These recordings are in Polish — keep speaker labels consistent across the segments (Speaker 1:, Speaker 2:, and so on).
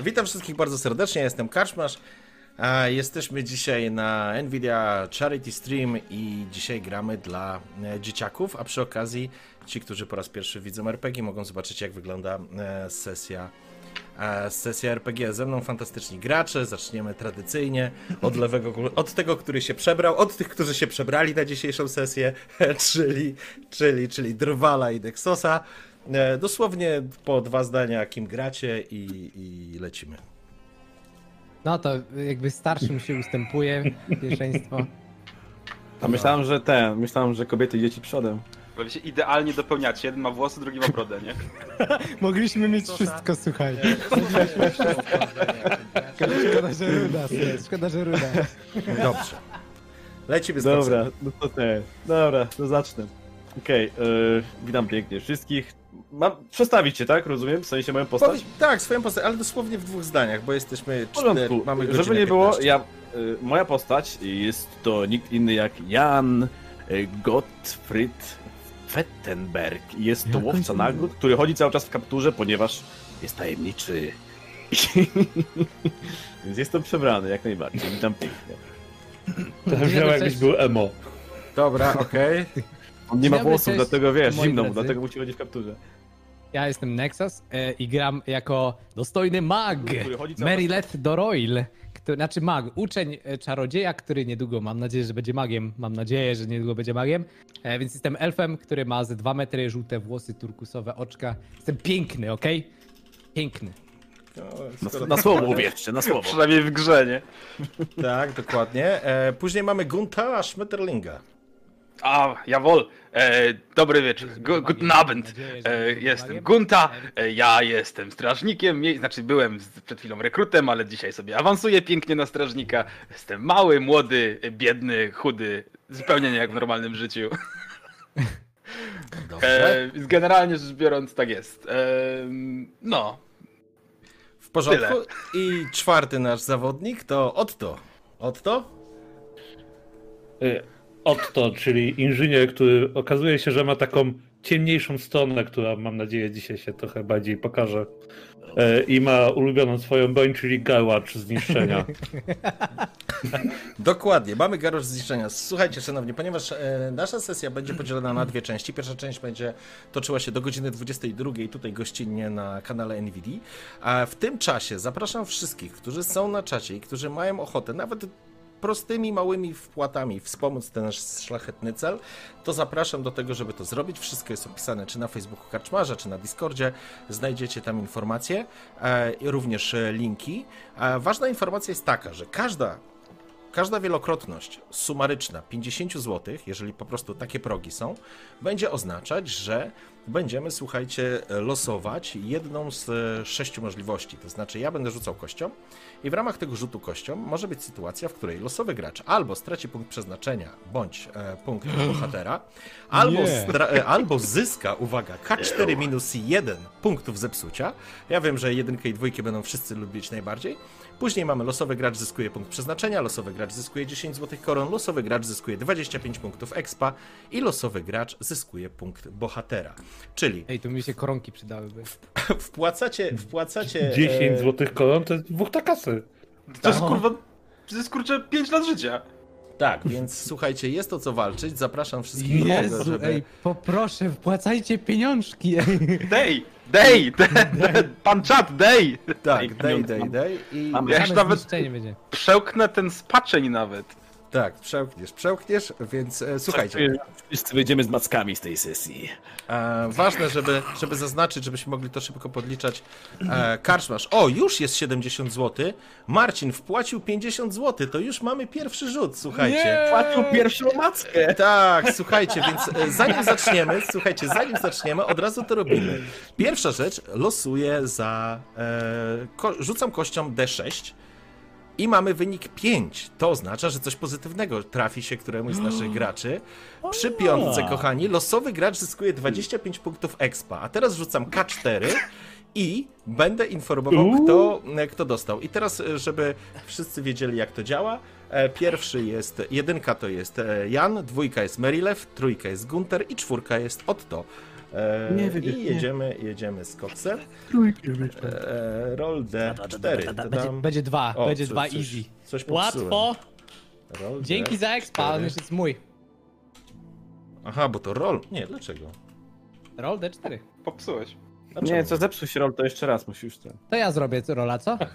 Speaker 1: Witam wszystkich bardzo serdecznie, ja jestem Karczmasz. A jesteśmy dzisiaj na Nvidia Charity Stream i dzisiaj gramy dla e, dzieciaków, a przy okazji ci, którzy po raz pierwszy widzą RPG, mogą zobaczyć jak wygląda e, sesja e, sesja RPG. Ze mną fantastyczni gracze, zaczniemy tradycyjnie od lewego, ku- od tego, który się przebrał, od tych, którzy się przebrali na dzisiejszą sesję, czyli, czyli, czyli Drwala i Dexosa. E, Dosłownie po dwa zdania, kim gracie i, i lecimy.
Speaker 2: No to jakby starszym się ustępuje pierwszeństwo.
Speaker 3: A myślałem, że te, myślałem, że kobiety i dzieci przodem.
Speaker 4: Bo wy się idealnie dopełniacie. Jeden ma włosy, drugi ma brodę, nie?
Speaker 2: Mogliśmy mieć
Speaker 3: tak.
Speaker 2: wszystko, słuchaj. Szkoda, że ruda, słuchaj, szkoda, że ruda.
Speaker 1: Dobrze. Lecimy z
Speaker 3: Dobra,
Speaker 1: tekstem.
Speaker 3: no to te. Dobra, to zacznę. Okej, yy, witam pięknie wszystkich. Mam przestawić się, tak? Rozumiem? W sensie moją postać?
Speaker 1: Powiedz, tak, swoją postać, ale dosłownie w dwóch zdaniach, bo jesteśmy
Speaker 3: W
Speaker 1: cztery,
Speaker 3: porządku.
Speaker 1: mamy godzinę
Speaker 3: Żeby nie było,
Speaker 1: 15.
Speaker 3: ja, y, moja postać jest to nikt inny jak Jan y, Gottfried Fettenberg. Jest to łowca nagród, który chodzi cały czas w kapturze, ponieważ jest tajemniczy. Więc jestem przebrany jak najbardziej. Witam pięknie.
Speaker 2: no
Speaker 5: Trochę brzmiał jakbyś był emo.
Speaker 1: Dobra, okej.
Speaker 3: On nie ma
Speaker 2: Dzień dobry,
Speaker 3: włosów,
Speaker 2: cześć,
Speaker 3: dlatego wiesz,
Speaker 2: moi
Speaker 3: zimno mu,
Speaker 2: drodzy.
Speaker 3: dlatego musi chodzić w kapturze.
Speaker 2: Ja jestem Nexus e, i gram jako dostojny mag
Speaker 3: Który chodzi cały
Speaker 2: Merilet Doroil. Który, znaczy mag, uczeń e, czarodzieja, który niedługo, mam nadzieję, że będzie magiem. Mam nadzieję, że niedługo będzie magiem. E, więc jestem elfem, który ma ze 2 metry żółte włosy, turkusowe oczka. Jestem piękny, okej? Piękny.
Speaker 3: Na, na słowo uwierzcie, na słowo.
Speaker 4: Przynajmniej w grze, nie?
Speaker 1: Tak, dokładnie. E, później mamy Gunta Schmetterlinga.
Speaker 4: A, jawol. E, dobry wieczór. Gu- Guten Abend. E, jestem Gunta. E, ja jestem strażnikiem. mie- Znaczy, byłem z- przed chwilą rekrutem, ale dzisiaj sobie awansuję pięknie na strażnika. Jestem mały, młody, biedny, chudy. Zupełnie nie jak w normalnym życiu.
Speaker 1: Dobrze.
Speaker 4: E, więc generalnie rzecz biorąc, tak jest. E, no,
Speaker 1: W porządku. I czwarty nasz zawodnik to Otto. Otto?
Speaker 5: Y, Otto, czyli inżynier, który okazuje się, że ma taką ciemniejszą stronę, która mam nadzieję dzisiaj się trochę bardziej pokaże. Y, I ma ulubioną swoją broń, czyli garłacz zniszczenia.
Speaker 1: Dokładnie, mamy garaż zniszczenia. Słuchajcie, szanowni, ponieważ e, nasza sesja będzie podzielona na dwie części. Pierwsza część będzie toczyła się do godziny 22 tutaj gościnnie na kanale NVD. A w tym czasie zapraszam wszystkich, którzy są na czacie i którzy mają ochotę, nawet prostymi, małymi wpłatami wspomóc ten nasz szlachetny cel, to zapraszam do tego, żeby to zrobić. Wszystko jest opisane czy na Facebooku Karczmarza, czy na Discordzie. Znajdziecie tam informacje, e, i również e, linki. E, ważna informacja jest taka, że każda Każda wielokrotność sumaryczna 50 zł, jeżeli po prostu takie progi są, będzie oznaczać, że będziemy, słuchajcie, losować jedną z e, sześciu możliwości. To znaczy, ja będę rzucał kością i w ramach tego rzutu kością może być sytuacja, w której losowy gracz albo straci punkt przeznaczenia, bądź e, punkt bohatera, albo, stra- e, albo zyska, uwaga, K4 minus 1 punktów zepsucia. Ja wiem, że jedynkę i dwójkę będą wszyscy lubić najbardziej. Później mamy losowy gracz zyskuje punkt przeznaczenia, losowy gracz zyskuje 10 zł koron, losowy gracz zyskuje 25 punktów expa i losowy gracz zyskuje punkt bohatera. Czyli
Speaker 2: Ej, tu mi się koronki przydałyby.
Speaker 1: wpłacacie, wpłacacie... e,
Speaker 5: 10 złotych koron to jest dwóch takasy.
Speaker 4: to jest kurwa. To jest kurczę 5 lat życia.
Speaker 1: Tak, więc słuchajcie, jest o co walczyć. Zapraszam wszystkich do tego, żeby...
Speaker 2: ej, poproszę, wpłacajcie pieniążki, ej.
Speaker 4: Dej! Dej! dej, Pan czat, dej!
Speaker 1: Tak, dej, dej, dej i...
Speaker 3: Mamy-
Speaker 4: Ja
Speaker 2: Same
Speaker 4: już nawet
Speaker 2: zniszczenie będzie.
Speaker 4: przełknę ten spaczeń nawet.
Speaker 1: Tak, przełkniesz, przełkniesz, więc e, słuchajcie.
Speaker 3: Wszyscy wyjdziemy z mackami z tej sesji.
Speaker 1: E, ważne, żeby, żeby zaznaczyć, żebyśmy mogli to szybko podliczać. E, karczmasz. O, już jest 70 zł. Marcin wpłacił 50 zł, to już mamy pierwszy rzut, słuchajcie.
Speaker 3: Płacił pierwszą mackę.
Speaker 1: Tak, słuchajcie, więc e, zanim zaczniemy, słuchajcie, zanim zaczniemy, od razu to robimy. Pierwsza rzecz, losuję za. E, ko, rzucam kością D6 i mamy wynik 5. To oznacza, że coś pozytywnego trafi się któremuś z naszych graczy. Przy piątce, kochani, losowy gracz zyskuje 25 punktów expa. A teraz rzucam K4 i będę informował, kto, kto dostał. I teraz, e, żeby wszyscy wiedzieli, jak to działa. e, Pierwszy jest, jedynka to jest e, Jan, dwójka jest Merilew, trójka jest Gunter i czwórka jest Otto. E,
Speaker 3: Nie wybierz,
Speaker 1: I
Speaker 3: nie.
Speaker 1: jedziemy, jedziemy z koksem. E, Roll D4.
Speaker 2: Będzie,
Speaker 1: dodam-
Speaker 2: będzie dwa,
Speaker 1: o,
Speaker 2: będzie
Speaker 1: co-
Speaker 2: dwa
Speaker 1: coś-
Speaker 2: easy.
Speaker 1: Coś popsułem.
Speaker 2: Łatwo.
Speaker 1: Roll
Speaker 2: Dzięki za expa,
Speaker 1: cztery.
Speaker 2: on już jest mój.
Speaker 1: Aha, bo to roll. Nie, dlaczego?
Speaker 2: Roll D4.
Speaker 4: Popsułeś.
Speaker 1: dlaczego?
Speaker 3: Nie, co zepsuł się rol, to jeszcze raz musisz ten.
Speaker 2: To ja zrobię rola, co?
Speaker 1: Tak.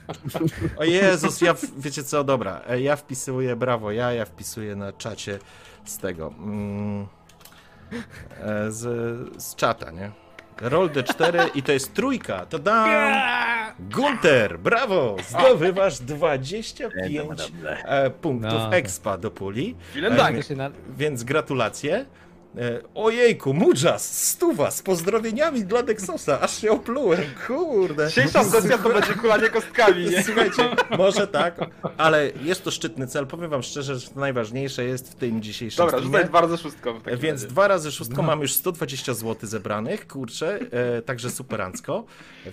Speaker 1: O Jezus, ja, w- wiecie co, dobra, e, ja wpisuję, brawo, ja, ja wpisuję na czacie z tego, mm, e, z, z czata, nie? Roll D4 i to jest trójka, to dam! Gunter, brawo, zdobywasz 25 e, punktów
Speaker 2: No.
Speaker 1: expa do puli.
Speaker 4: Wiele
Speaker 1: Tak.
Speaker 4: dań.
Speaker 2: To się na...
Speaker 1: Więc gratulacje. E, Ojejku, Mudżas, stuwa z pozdrowieniami dla Dexosa, aż się oplułem, kurde.
Speaker 4: Dzisiejsza sesja to będzie kulanie kostkami, nie?
Speaker 1: Słuchajcie, może tak, ale jest to szczytny cel. Powiem wam szczerze, że to najważniejsze jest w tym dzisiejszym
Speaker 4: Dobra,
Speaker 1: streamie.
Speaker 4: rzucaj dwa razy szóstką w takim
Speaker 1: Więc
Speaker 4: razie. No.
Speaker 1: dwa razy szóstką mam już 120 zł zebranych, kurczę, e, także superancko.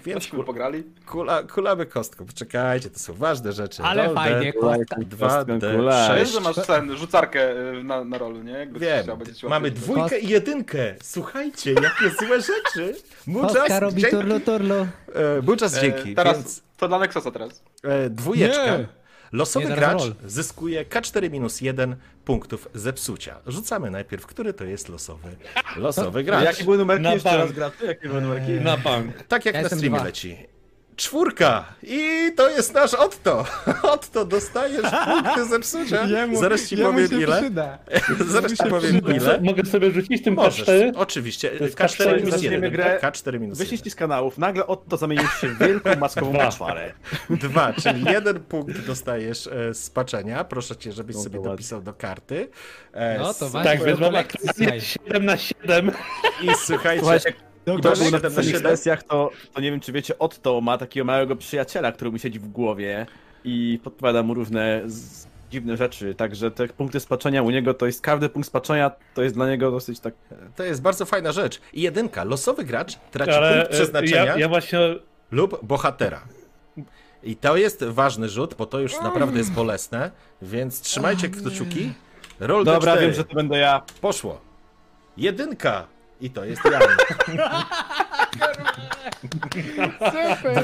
Speaker 1: Więc
Speaker 4: Cośmy
Speaker 1: kur,
Speaker 4: pograli.
Speaker 1: kula, kulamy kostką, poczekajcie, to są ważne rzeczy.
Speaker 2: Ale
Speaker 1: Roll
Speaker 2: fajnie,
Speaker 1: deck,
Speaker 2: kostka.
Speaker 1: 2D6.
Speaker 4: A wiesz, że masz ten, rzucarkę y, na, na rolu, nie? Jakby ktoś
Speaker 1: Wiem,
Speaker 4: chciał, będzie ci
Speaker 1: mamy
Speaker 4: łatwiej.
Speaker 1: dwójkę i jedynkę. Słuchajcie, jakie złe rzeczy.
Speaker 2: Kostka
Speaker 1: Muchas
Speaker 2: robi
Speaker 1: dzięki.
Speaker 2: turlo turlo.
Speaker 1: E, Muchas
Speaker 4: E,
Speaker 1: dzięki.
Speaker 4: Teraz
Speaker 1: Więc,
Speaker 4: to dla Nexosa teraz.
Speaker 1: e, dwójeczka.
Speaker 2: Nie.
Speaker 1: Losowy
Speaker 2: Nie, zaraz
Speaker 1: gracz
Speaker 2: roll.
Speaker 1: zyskuje K4 minus 1 punktów zepsucia. Rzucamy najpierw, który to jest losowy, losowy gracz.
Speaker 3: Jakie były numerki?
Speaker 5: Na
Speaker 3: Jeszcze
Speaker 5: bank.
Speaker 3: raz graty? Jakie były numerki?
Speaker 5: Na bank.
Speaker 1: Tak jak
Speaker 2: Ja
Speaker 1: na
Speaker 2: jestem
Speaker 1: streamie
Speaker 2: dwa.
Speaker 1: leci. Czwórka! I to jest nasz Otto! Otto, dostajesz punkty zepsucia. Zaraz ci powiem ile. Zaraz ci powiem ile.
Speaker 5: Mogę sobie rzucić tym
Speaker 1: Możesz,
Speaker 5: K4?
Speaker 1: oczywiście.
Speaker 5: jest
Speaker 1: K4 minus
Speaker 3: zaczniemy
Speaker 1: 1.
Speaker 3: grę.
Speaker 1: K4 minus 1.
Speaker 3: Wyszliście z kanałów, nagle Otto zamienił się w wielką maskową
Speaker 5: Dwa.
Speaker 3: kaczwarę.
Speaker 1: Dwa, czyli jeden punkt dostajesz e, z paczenia. Proszę cię, żebyś sobie
Speaker 3: No ładnie.
Speaker 1: dopisał do karty. E,
Speaker 2: No to
Speaker 1: s-
Speaker 2: właśnie.
Speaker 5: Tak, więc mam
Speaker 2: kolekcji,
Speaker 5: aktualnie
Speaker 2: słuchaj.
Speaker 5: 7 na 7.
Speaker 1: I słuchajcie,
Speaker 3: Słuchajcie,
Speaker 2: Do
Speaker 3: To
Speaker 1: Dobrze,
Speaker 3: był na
Speaker 1: siedem na
Speaker 3: poprzednich
Speaker 1: siedem.
Speaker 3: sesjach, to, to nie wiem czy wiecie, Otto ma takiego małego przyjaciela, który mu siedzi w głowie i podpowiada mu różne z... dziwne rzeczy, także te punkty spaczenia u niego to jest, każdy punkt spaczenia to jest dla niego dosyć tak...
Speaker 1: to jest bardzo fajna rzecz. I jedynka, losowy gracz traci
Speaker 5: Ale
Speaker 1: punkt
Speaker 5: e,
Speaker 1: przeznaczenia
Speaker 5: ja, ja właśnie
Speaker 1: lub bohatera. I to jest ważny rzut, bo to już naprawdę jest bolesne, więc trzymajcie kciuki. Roll
Speaker 3: Dobra,
Speaker 1: D4.
Speaker 3: wiem, że to będę ja.
Speaker 1: Poszło. Jedynka. I to jest Jan.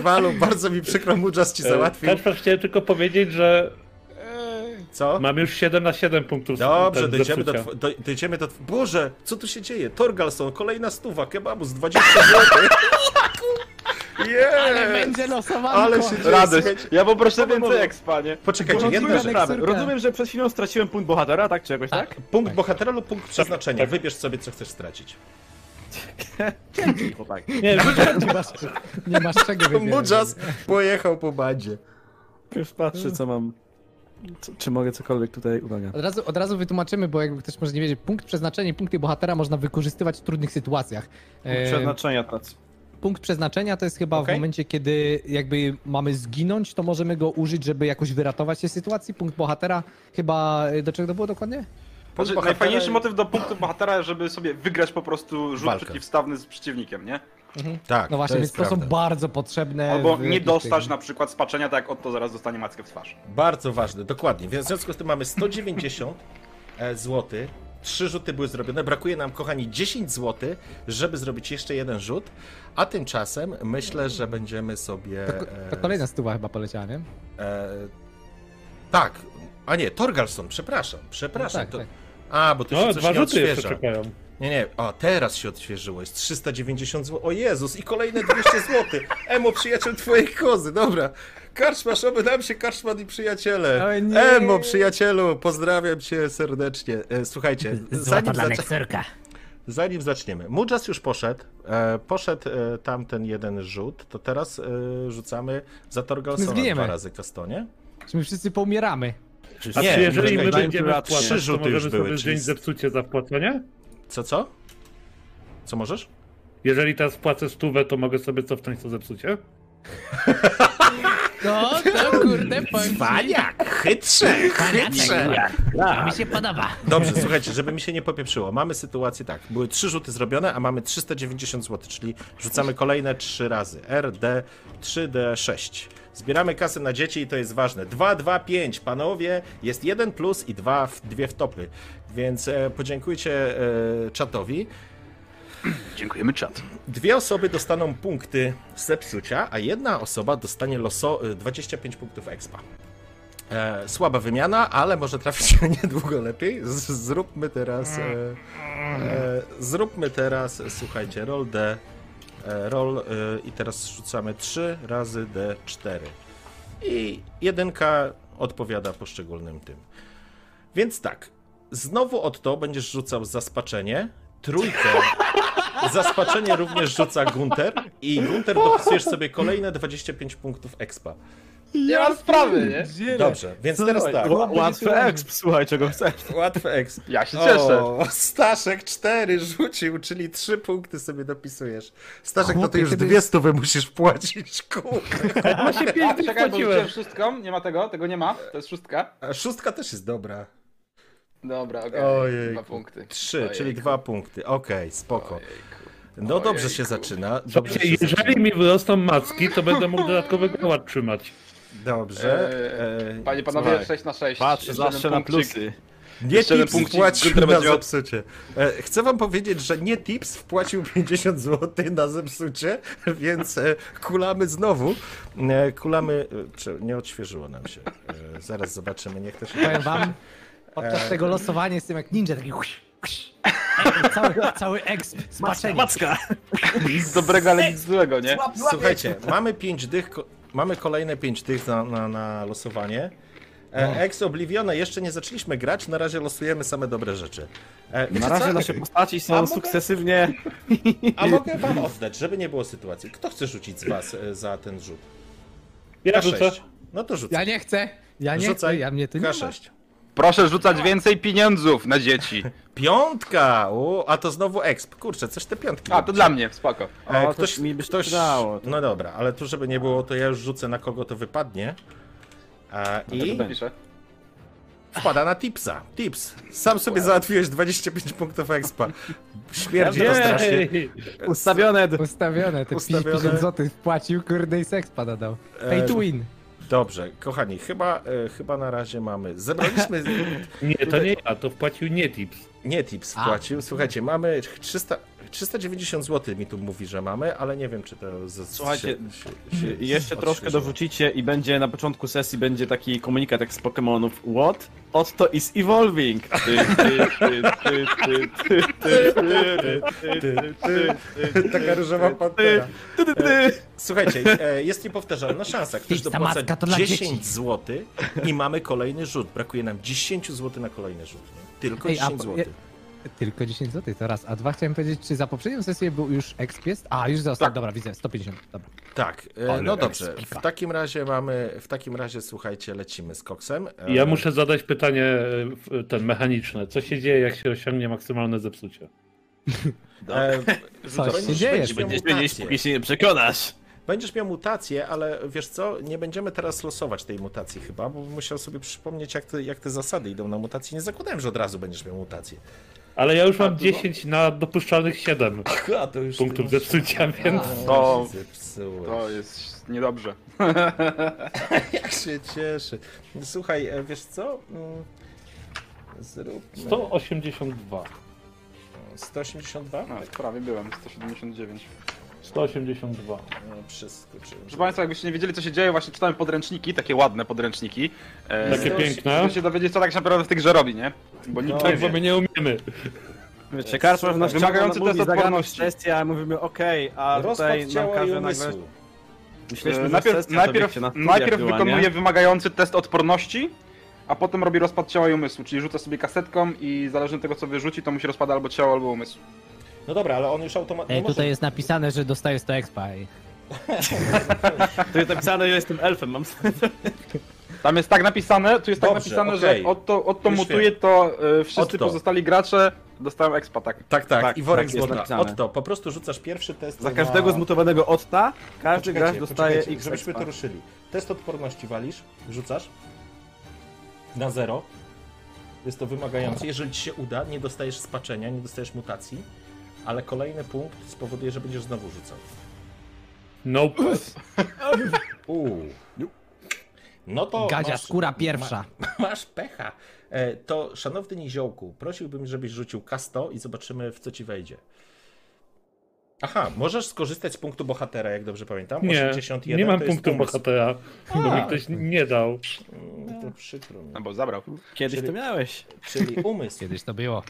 Speaker 1: Dwalu, bardzo mi przykro, Mujas ci załatwił.
Speaker 5: Kaszpar chciałem tylko powiedzieć, że
Speaker 1: Co?
Speaker 5: mam już 7 na 7 punktów.
Speaker 1: Dobrze,
Speaker 5: tak,
Speaker 1: dojdziemy do,
Speaker 5: zepsucia.
Speaker 1: tw- do, dojdziemy do... tw- Boże, co tu się dzieje? Torgalson, kolejna stuwa, kebabu z 20 zł. Yeah.
Speaker 2: Będzie losowanko.
Speaker 1: Ale się dzieje,
Speaker 4: Radość.
Speaker 1: słuchajcie.
Speaker 4: Ja poproszę więcej
Speaker 3: dobra.
Speaker 4: expa, nie?
Speaker 1: Poczekajcie, jedna
Speaker 3: Rozumiem,
Speaker 1: rzecz.
Speaker 3: że,
Speaker 2: Janek Syrka.
Speaker 3: rozumiem, że przed chwilą straciłem punkt bohatera, tak czy jakoś tak?
Speaker 2: Tak?
Speaker 1: Punkt bohatera lub punkt przeznaczenia.
Speaker 5: tak.
Speaker 1: Wybierz sobie, co chcesz stracić.
Speaker 3: Chłopak.
Speaker 5: Nie, rzucę
Speaker 2: Nie masz, nie masz czego wybierać.
Speaker 1: Mujas pojechał po bandzie.
Speaker 3: Już patrzę co mam... Co, czy mogę cokolwiek tutaj, uwaga.
Speaker 2: Od razu, od razu wytłumaczymy, bo jakby ktoś może nie wiedzieć, punkt przeznaczenia i punkty bohatera można wykorzystywać w trudnych sytuacjach.
Speaker 1: Eee,
Speaker 2: E,
Speaker 3: Przeznaczenia tacy.
Speaker 2: punkt przeznaczenia to jest chyba
Speaker 1: Okej.
Speaker 2: w momencie, kiedy jakby mamy zginąć, to możemy go użyć, żeby jakoś wyratować się z sytuacji. Punkt bohatera chyba, e, do czego to było dokładnie?
Speaker 4: Znaczy,
Speaker 1: bohatera-
Speaker 4: najfajniejszy motyw do punktu bohatera, żeby sobie wygrać po prostu rzut
Speaker 1: Walkę.
Speaker 4: przeciwstawny z przeciwnikiem, nie?
Speaker 1: Tak,
Speaker 2: No właśnie,
Speaker 1: to
Speaker 2: więc
Speaker 1: jest
Speaker 2: to są
Speaker 1: prawda.
Speaker 2: bardzo potrzebne.
Speaker 4: Albo
Speaker 2: w
Speaker 4: nie
Speaker 2: jakichś
Speaker 4: dostać
Speaker 2: tych-
Speaker 4: na przykład spaczenia, tak jak Otto zaraz dostanie mackę w twarz.
Speaker 1: Bardzo ważne, dokładnie. Więc w związku z tym mamy 190 zł. Trzy rzuty były zrobione. Brakuje nam, kochani, 10 zł, żeby zrobić jeszcze jeden rzut. A tymczasem myślę, że będziemy sobie.
Speaker 2: To kolejna stuwa chyba poleciała, nie?
Speaker 1: E, e, tak. A nie, Torgalson, przepraszam, przepraszam.
Speaker 2: No tak,
Speaker 1: to,
Speaker 2: tak.
Speaker 1: A, bo ty
Speaker 5: No,
Speaker 1: się coś
Speaker 5: dwa
Speaker 1: nie
Speaker 5: rzuty jeszcze
Speaker 1: odświeża.
Speaker 5: czekają.
Speaker 1: Nie, nie, a teraz się odświeżyło, jest 390 zł. O Jezus, i kolejne 200 zł. Emo, przyjaciel twojej kozy, dobra. Karczmasz, oby nam się karczman i przyjaciele.
Speaker 2: O nie.
Speaker 1: Emo, przyjacielu, pozdrawiam cię serdecznie. E, Słuchajcie, zanim, zaczę... zanim zaczniemy. Mujas już poszedł, e, poszedł e, tamten jeden rzut, to teraz e, rzucamy za Torgalsona
Speaker 2: zginiemy.
Speaker 1: dwa razy kastonie.
Speaker 2: Czy my wszyscy poumieramy?
Speaker 5: A
Speaker 1: Nie,
Speaker 5: czy jeżeli my
Speaker 1: czekaj,
Speaker 5: będziemy
Speaker 1: dajmy- trzy
Speaker 5: wpłacać, to
Speaker 1: rzuty już
Speaker 5: możemy
Speaker 1: były,
Speaker 5: sobie
Speaker 1: czyli-
Speaker 5: wziąć zepsucie za wpłacenie?
Speaker 1: Co, co? Co możesz?
Speaker 5: Jeżeli teraz wpłacę stówę, to mogę sobie cofnąć to zepsucie?
Speaker 2: No, to kurde, powiem
Speaker 1: Paniak, chytrze, chytrze.
Speaker 3: Tak.
Speaker 6: się podoba.
Speaker 1: Dobrze, słuchajcie, żeby mi się nie popieprzyło. Mamy sytuację tak. Były trzy rzuty zrobione, a mamy 390 zł, czyli rzucamy kolejne trzy razy. RD 3D6. Zbieramy kasę na dzieci i to jest ważne. 2, 2, 5, panowie, jest jeden plus i dwa, w- dwie wtopy. Więc e, podziękujcie e, czatowi.
Speaker 4: Dziękujemy czat.
Speaker 1: Dwie osoby dostaną punkty zepsucia, a jedna osoba dostanie loso y, 25 punktów expa. E, słaba wymiana, ale może trafić się niedługo lepiej. Z, zróbmy teraz. E, e, zróbmy teraz, słuchajcie, roll D. E, roll e, i teraz rzucamy 3 razy D4. I jedynka odpowiada poszczególnym tym. Więc tak. Znowu od to będziesz rzucał zaspaczenie. Trójkę. Zaspaczenie również rzuca Gunter i Gunter dopisujesz sobie kolejne 25 punktów expa.
Speaker 4: Nie mam sprawy, nie?
Speaker 2: ci,
Speaker 1: Eee, Dobrze, więc teraz tak.
Speaker 3: Ła- Łatwy exp, słuchaj, czego chcesz.
Speaker 1: Łatwe exp.
Speaker 4: Ja się cieszę.
Speaker 1: O, Staszek 4 rzucił, czyli 3 punkty sobie dopisujesz. Staszek, no to
Speaker 2: Chłopie,
Speaker 1: już
Speaker 2: kiedy-
Speaker 1: dwie stówy musisz płacić, kurde.
Speaker 5: No się
Speaker 4: A, czekaj,
Speaker 5: pięć
Speaker 4: bo rzuciłem
Speaker 5: wpłaciłem!
Speaker 4: szóstką, nie ma tego, tego nie ma, to jest szóstka.
Speaker 1: A szóstka też jest dobra.
Speaker 4: Dobra, okej,
Speaker 1: Ojejku.
Speaker 4: dwa punkty.
Speaker 1: 3, czyli
Speaker 4: Ojejku.
Speaker 1: dwa punkty. Okej, spoko.
Speaker 4: Ojejku.
Speaker 1: No dobrze się
Speaker 4: Ojejku.
Speaker 1: zaczyna. Dobrze
Speaker 5: Słuchajcie,
Speaker 1: się zaczyna.
Speaker 5: jeżeli mi wyrosną macki, to będę mógł dodatkowy gołat trzymać.
Speaker 1: Dobrze. e,
Speaker 4: Panie panowie,
Speaker 3: Słuchaj.
Speaker 4: 6 na 6.
Speaker 3: Patrz, zawsze na plusy.
Speaker 1: Nie
Speaker 4: Jeszcze jeden
Speaker 1: tips
Speaker 4: punkcik,
Speaker 1: wpłacił
Speaker 4: Gunter
Speaker 1: na
Speaker 4: będzie miał-
Speaker 1: zepsucie. E, Chcę wam powiedzieć, że nie tips wpłacił 50 zł na zepsucie, więc e, kulamy znowu. E, Kulamy. e, prze- Nie odświeżyło nam się. E, Zaraz zobaczymy, niech to się.
Speaker 2: Powiem wam, podczas tego losowania jestem jak ninja, taki huś, huś. Ej, cały, cały exp, spaczenie.
Speaker 3: Macka!
Speaker 4: Nic dobrego, ale nic złego, nie?
Speaker 1: Słuchajcie, mamy 5 dych. ko- Mamy kolejne 5 dych na, na, na losowanie.
Speaker 4: No.
Speaker 1: E, Ex Oblivione, jeszcze nie zaczęliśmy grać, na razie losujemy same dobre rzeczy. E, wiecie
Speaker 3: Na razie
Speaker 1: co?
Speaker 3: nasze postaci
Speaker 1: A
Speaker 3: są
Speaker 1: mogę?
Speaker 3: sukcesywnie.
Speaker 1: A mogę wam oddać, żeby nie było sytuacji. Kto chce rzucić z was e, za ten rzut?
Speaker 5: Ja
Speaker 1: K6.
Speaker 5: rzucę.
Speaker 1: No to rzucaj.
Speaker 2: Ja nie chcę, ja nie chcę,
Speaker 1: Rzucaj.
Speaker 2: ja mnie tu nie ma.
Speaker 1: K6.
Speaker 4: Proszę rzucać więcej pieniądzów na dzieci.
Speaker 1: Piątka! U, a to znowu exp. Kurczę, coś te piątki.
Speaker 4: A, to dla mnie, spoko.
Speaker 1: E,
Speaker 3: O, coś mi by się przydało.
Speaker 1: No dobra, ale tu żeby nie było, to ja już rzucę na kogo to wypadnie. E,
Speaker 3: No
Speaker 1: I
Speaker 4: Piszę.
Speaker 1: wpada na tipsa. Tips. Sam sobie załatwiłeś 25 punktów expa. Śmierdzi to strasznie.
Speaker 5: Jej!
Speaker 3: Ustawione.
Speaker 2: Ustawione, te
Speaker 1: Ustawione. E,
Speaker 2: 50 zł wpłacił, kurde i seks pada dał. Pay to win.
Speaker 1: Dobrze, kochani, chyba, e, chyba na razie mamy. Zebraliśmy.
Speaker 5: Nie, to nie ja, to wpłacił nie tips.
Speaker 1: Nie tips
Speaker 2: A.
Speaker 1: wpłacił. Słuchajcie, mamy 300, 390 zł mi tu mówi, że mamy, ale nie wiem, czy to. Z, z-
Speaker 3: Słuchajcie,
Speaker 1: się- się-
Speaker 3: I jeszcze troszkę
Speaker 1: odświeżyło.
Speaker 3: dorzucicie i będzie na początku sesji będzie taki komunikat jak z Pokémonów What? Otto is evolving! Ty, ty, ty, ty, ty, ty, ty, ty, ty, ty, ty,
Speaker 1: Taka różowa pantera.
Speaker 3: ty, ty.
Speaker 1: Słuchajcie, e, jest niepowtarzalna szansa. Ktoś
Speaker 6: Ty, ta
Speaker 1: dopłaca
Speaker 6: matka to dla
Speaker 1: 10
Speaker 6: dzieci.
Speaker 1: zł i mamy kolejny rzut. Brakuje nam 10 zł na kolejny rzut. nie? Tylko
Speaker 2: Ej, a
Speaker 1: 10
Speaker 2: po-
Speaker 1: zł.
Speaker 2: Tylko 10 zł to raz, a dwa chciałem powiedzieć, czy za poprzednią sesję był już exp jest? A, już został, dobra, widzę, 150, dobra.
Speaker 1: Tak, e, no dobrze. W takim razie mamy, w takim razie słuchajcie, lecimy z koksem. E,
Speaker 5: Ja muszę zadać pytanie e, w- ten mechaniczne. Co się dzieje, jak się osiągnie maksymalne zepsucie?
Speaker 1: E,
Speaker 2: Coś się
Speaker 1: będziesz-
Speaker 2: dzieje.
Speaker 1: będziesz miał
Speaker 3: Będziesz wiedzieć,
Speaker 1: mutację.
Speaker 3: póki się nie przekonasz.
Speaker 1: Będziesz miał mutację, ale wiesz co, nie będziemy teraz losować tej mutacji chyba, bo bym musiał sobie przypomnieć, jak te, jak te zasady idą na mutację. Nie zakładałem, że od razu będziesz miał mutację.
Speaker 5: Ale ja już mam 10 na dopuszczalnych 7
Speaker 1: A to już
Speaker 5: punktów zepsucia, więc
Speaker 4: To-
Speaker 1: zepsułeś.
Speaker 4: To jest niedobrze.
Speaker 1: Jak się cieszy. Słuchaj, e, wiesz co? Mm, Zróbmy
Speaker 5: 182.
Speaker 1: 182?
Speaker 4: No, prawie byłem, 179.
Speaker 5: 182.
Speaker 1: No, Przeskoczyłem.
Speaker 4: Proszę Państwa, jakbyście nie wiedzieli, co się dzieje, właśnie czytałem podręczniki, takie ładne podręczniki. E,
Speaker 5: Takie
Speaker 1: Coś-
Speaker 5: piękne.
Speaker 4: Żeby się dowiedzieć, co tak się naprawdę w tych grze robi, nie? Bo nikt
Speaker 1: No,
Speaker 4: nie
Speaker 5: Tak, bo
Speaker 4: wie.
Speaker 5: my nie umiemy.
Speaker 6: Wiecie, karczmarz nas
Speaker 4: Wymagający
Speaker 6: ciągnął, mówi
Speaker 4: test
Speaker 6: zagadną
Speaker 4: odporności.
Speaker 6: kwestię, a mówimy okej, a
Speaker 1: Rozpad
Speaker 6: tutaj nam
Speaker 1: ciała i
Speaker 6: każe nagle...
Speaker 1: umysłu.
Speaker 6: Myśleliśmy,
Speaker 4: E,
Speaker 6: że
Speaker 4: najpierw
Speaker 6: sesja to,
Speaker 4: najpierw,
Speaker 6: wiecie, na studiach
Speaker 4: najpierw
Speaker 6: była,
Speaker 4: wykonuje
Speaker 6: nie?
Speaker 4: wymagający test odporności, a potem robi rozpad ciała i umysłu, czyli rzuca sobie kasetką i zależnie od tego co wyrzuci, to mu się rozpada albo ciało, albo umysł.
Speaker 1: No dobra, ale on już automatycznie...
Speaker 2: Ej, E, tutaj jest napisane, że dostaję 100 expa. ej.
Speaker 6: Tu jest napisane, ja jestem elfem, mam
Speaker 4: Tam jest tak napisane, tu jest tak
Speaker 1: Dobrze,
Speaker 4: napisane,
Speaker 1: okej.
Speaker 4: że Otto, Otto
Speaker 1: Już
Speaker 4: mutuje,
Speaker 1: wiem.
Speaker 4: to y, wszyscy
Speaker 1: Otto.
Speaker 4: pozostali gracze dostają expa, tak.
Speaker 1: Tak, tak,
Speaker 6: Tak,
Speaker 1: i worek
Speaker 6: tak,
Speaker 1: z
Speaker 6: jest
Speaker 1: złota.
Speaker 6: napisane.
Speaker 1: Otto, po prostu rzucasz pierwszy test
Speaker 6: Za
Speaker 1: na-
Speaker 6: każdego zmutowanego otta, każdy
Speaker 1: Poczekajcie,
Speaker 6: gracz dostaje
Speaker 1: poczekajcie,
Speaker 6: x
Speaker 1: Żebyśmy to
Speaker 6: expa.
Speaker 1: ruszyli. Test odporności walisz, rzucasz na zero. Jest to wymagające. Jeżeli ci się uda, nie dostajesz spaczenia, nie dostajesz mutacji, ale kolejny punkt spowoduje, że będziesz znowu rzucał.
Speaker 5: Nope.
Speaker 1: Uuu. No to
Speaker 2: Gadzia,
Speaker 1: masz,
Speaker 2: skóra pierwsza.
Speaker 1: masz pecha. E, to szanowny niziołku, prosiłbym, żebyś rzucił K100 i zobaczymy, w co ci wejdzie. Aha, możesz skorzystać z punktu bohatera, jak dobrze pamiętam.
Speaker 5: Nie,
Speaker 1: 81
Speaker 5: nie mam
Speaker 1: to jest
Speaker 5: punktu
Speaker 1: umysł.
Speaker 5: bohatera, bo mi
Speaker 1: A.
Speaker 5: ktoś nie dał.
Speaker 1: Mm, To przykro mi.
Speaker 4: No bo zabrał.
Speaker 6: Kiedyś to miałeś.
Speaker 1: Czyli umysł.
Speaker 2: Kiedyś to było.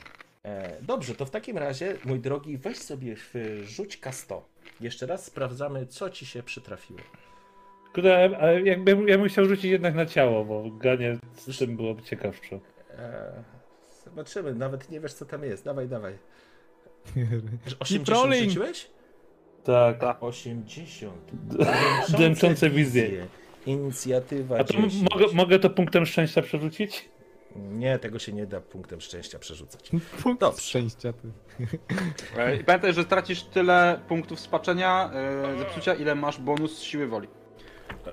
Speaker 1: E, dobrze, to w takim razie, mój drogi, weź sobie w, rzuć K100. Jeszcze raz sprawdzamy, co ci się przytrafiło.
Speaker 5: Kurde, a jakbym, ja bym chciał rzucić jednak na ciało, bo ganie z tym byłoby ciekawsze.
Speaker 1: E, zobaczymy, nawet nie wiesz, co tam jest. Dawaj, dawaj. 80
Speaker 6: Trolling.
Speaker 1: rzuciłeś?
Speaker 5: Tak.
Speaker 1: 80.
Speaker 5: Dęczące wizje.
Speaker 1: Inicjatywa
Speaker 5: A to m-
Speaker 1: 10.
Speaker 5: mogę, mogę to punktem szczęścia przerzucić?
Speaker 1: Nie, tego się nie da punktem szczęścia przerzucać. Dobrze.
Speaker 2: Szczęścia ty.
Speaker 4: E, I pamiętaj, że tracisz tyle punktów spaczenia, e, zepsucia, ile masz bonus z siły woli.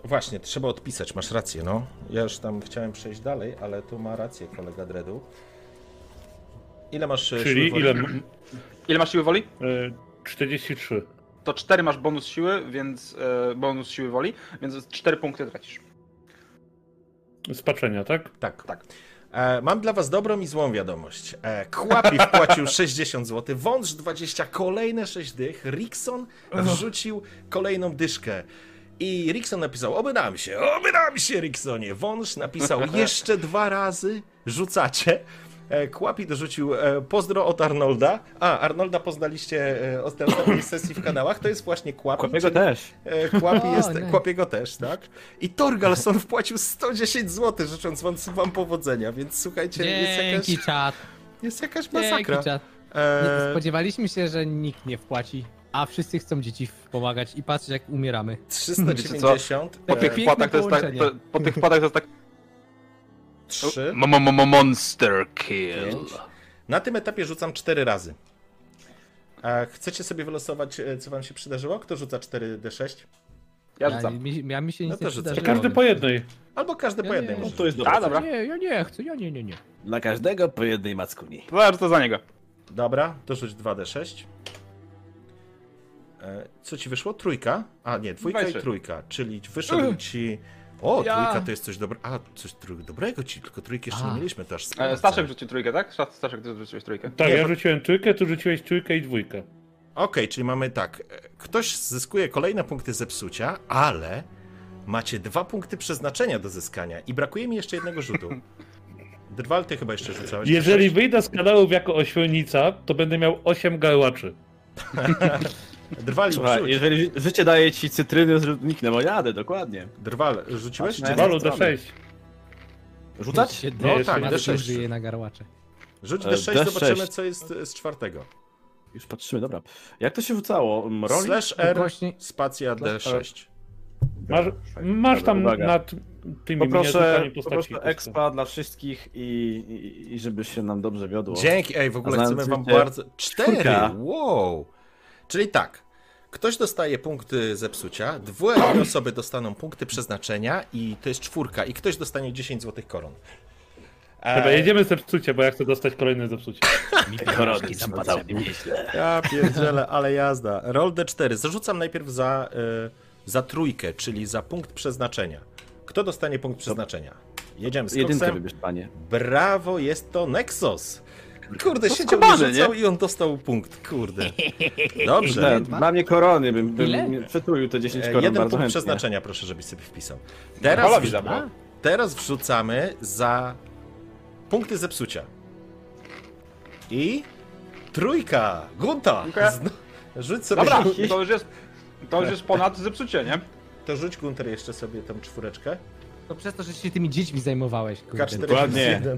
Speaker 1: Właśnie, trzeba odpisać, masz rację, no. Ja już tam chciałem przejść dalej, ale tu ma rację kolega Dredu. Ile masz e,
Speaker 5: Czyli
Speaker 1: siły
Speaker 5: ile?
Speaker 1: woli?
Speaker 5: m-
Speaker 4: Ile masz siły woli?
Speaker 5: y, 43.
Speaker 4: To 4 masz bonus siły, więc e, bonus siły woli, więc 4 punkty tracisz.
Speaker 5: Spaczenia, tak?
Speaker 1: Tak, tak. E, mam dla was dobrą i złą wiadomość. E, Kłapi wpłacił 60 zł, Wąż 20, kolejne 6 dych, Rickson wrzucił kolejną dyszkę. I Rickson napisał, oby nam się, oby nam się, Ricksonie. Wąż napisał, jeszcze dwa razy rzucacie. E, Kłapi dorzucił e, pozdro od Arnolda. A, Arnolda poznaliście e, od ostatniej sesji w kanałach, to jest właśnie Kłapi.
Speaker 6: Kłapiego
Speaker 1: czyli-
Speaker 6: też.
Speaker 1: E, Kłapi
Speaker 2: O,
Speaker 1: jest,
Speaker 2: nice.
Speaker 1: Kłapiego też, tak? I Torgalson wpłacił 110 zł, życząc wam, wam powodzenia, więc słuchajcie, jest
Speaker 2: Dzięki
Speaker 1: jakaś,
Speaker 2: czat,
Speaker 1: jest jakaś
Speaker 2: dzięki
Speaker 1: masakra.
Speaker 2: czat. Nie,
Speaker 1: E,
Speaker 2: Spodziewaliśmy się, że nikt nie wpłaci, a wszyscy chcą dzieci pomagać i patrzeć jak umieramy.
Speaker 4: Po
Speaker 1: 393,
Speaker 4: tych
Speaker 2: piękne
Speaker 4: wpłatach to jest tak.
Speaker 2: połączenie.
Speaker 4: To, po tych wpłatach to jest tak. Mo- mo- mo- mo- Monster kill.
Speaker 1: Na tym etapie rzucam 4 razy. E, chcecie sobie wylosować, e, co wam się przydarzyło? Kto rzuca 4d6?
Speaker 4: Ja
Speaker 2: ja,
Speaker 4: rzucam.
Speaker 2: mi, ja mi się
Speaker 1: No
Speaker 2: nic
Speaker 1: to
Speaker 2: nie
Speaker 1: rzucaj.
Speaker 5: To
Speaker 2: przydarzyło.
Speaker 5: każdy po jednej.
Speaker 1: Albo każdy
Speaker 2: Ja
Speaker 1: po
Speaker 2: nie
Speaker 1: jednej
Speaker 2: wiem.
Speaker 1: może.
Speaker 6: No To jest
Speaker 4: A,
Speaker 6: dobre.
Speaker 4: dobra.
Speaker 2: Nie, ja nie chcę, ja nie, nie, nie.
Speaker 6: Dla każdego po jednej mackuni.
Speaker 4: To rzucę za niego.
Speaker 1: Dobra, to rzuć 2d6. E, Co ci wyszło? Trójka? A nie, dwójka i
Speaker 4: Weź.
Speaker 1: trójka, czyli wyszedł ci... O,
Speaker 2: Ja.
Speaker 1: trójka to jest coś dobrego. A, coś trój- dobrego ci, tylko trójki jeszcze
Speaker 2: A.
Speaker 1: nie mieliśmy, to aż
Speaker 4: E,
Speaker 1: sprawdzę.
Speaker 4: Staszek rzucił trójkę, tak? Sza- Staszek, ty rzuciłeś trójkę.
Speaker 5: Tak,
Speaker 1: Nie,
Speaker 5: ja
Speaker 1: bo-
Speaker 5: rzuciłem trójkę, tu rzuciłeś trójkę i dwójkę.
Speaker 1: Okej, czyli mamy tak. e, Ktoś zyskuje kolejne punkty zepsucia, ale macie dwa punkty przeznaczenia do zyskania i brakuje mi jeszcze jednego rzutu. Drwal, ty chyba jeszcze rzucałeś.
Speaker 5: Jeżeli wyjdę z kanałów jako ośmiornica, to będę miał 8 gałaczy.
Speaker 1: Drwal,
Speaker 6: Słuchaj,
Speaker 1: rzuć.
Speaker 6: jeżeli ży- życie daje ci cytryny, zniknę, bo jadę, dokładnie.
Speaker 1: Drwal, rzuciłeś?
Speaker 6: Patrz na-
Speaker 5: Walu
Speaker 6: strony.
Speaker 5: do 6.
Speaker 6: Rzucać?
Speaker 1: No
Speaker 5: jeszcze
Speaker 1: tak,
Speaker 5: nie.
Speaker 2: Matka
Speaker 1: D6.
Speaker 2: żyje na garłacze.
Speaker 1: Rzuć
Speaker 6: E,
Speaker 1: D6,
Speaker 6: D6.
Speaker 1: zobaczymy co jest e, z czwartego.
Speaker 6: Już patrzymy, dobra. Jak to się rzucało? Mm, Rolling?
Speaker 1: Slash R,
Speaker 2: Ukośni-
Speaker 1: spacja D6.
Speaker 5: Masz, masz tam
Speaker 6: Uwaga.
Speaker 5: nad tymi
Speaker 6: Poproszę,
Speaker 5: miniaturkami postaci.
Speaker 6: poproszę expa dla wszystkich i, i, i żeby się nam dobrze wiodło.
Speaker 1: Dzięki, ej, w
Speaker 6: A
Speaker 1: ogóle
Speaker 6: znając
Speaker 1: chcemy wam
Speaker 6: życie-
Speaker 1: bardzo... Cztery,
Speaker 6: Czwórka.
Speaker 1: wow! Czyli tak, ktoś dostaje punkty zepsucia, dwie osoby dostaną punkty przeznaczenia i to jest czwórka i ktoś dostanie 10 złotych koron. E,
Speaker 5: Chyba jedziemy zepsucie, bo ja chcę dostać kolejne zepsucie.
Speaker 6: Korony są potrzebne. Nieźle.
Speaker 1: Ja pierdzielę, ale jazda. Roll D4, zarzucam najpierw za, e, za trójkę, czyli za punkt przeznaczenia. Kto dostanie punkt przeznaczenia? Jedziemy z
Speaker 6: Jedynkę
Speaker 1: koksem.
Speaker 6: wybierz, panie.
Speaker 1: Brawo, jest to Nexus. Kurde, siedział i
Speaker 4: skubany,
Speaker 1: rzucał i on dostał punkt, kurde. Tak, Dobrze.
Speaker 6: Dla, dla mnie korony, bym,
Speaker 2: Ile?
Speaker 6: bym przetruił te 10
Speaker 1: E,
Speaker 6: koron
Speaker 1: Jeden punkt
Speaker 6: bardzo chętnie.
Speaker 1: przeznaczenia proszę, żebyś sobie wpisał. Teraz,
Speaker 4: Polowi
Speaker 1: wrz-
Speaker 4: zabrał.
Speaker 1: teraz wrzucamy za punkty zepsucia. I Trójka! Gunta!
Speaker 4: Dziękuję.
Speaker 1: Zno... Rzuć sobie.
Speaker 4: Dobra, to już jest, to już jest ponad zepsucie, nie?
Speaker 1: To rzuć Gunter jeszcze sobie tą czwóreczkę.
Speaker 2: To przez to, że się tymi dziećmi zajmowałeś, kurde.
Speaker 1: K41.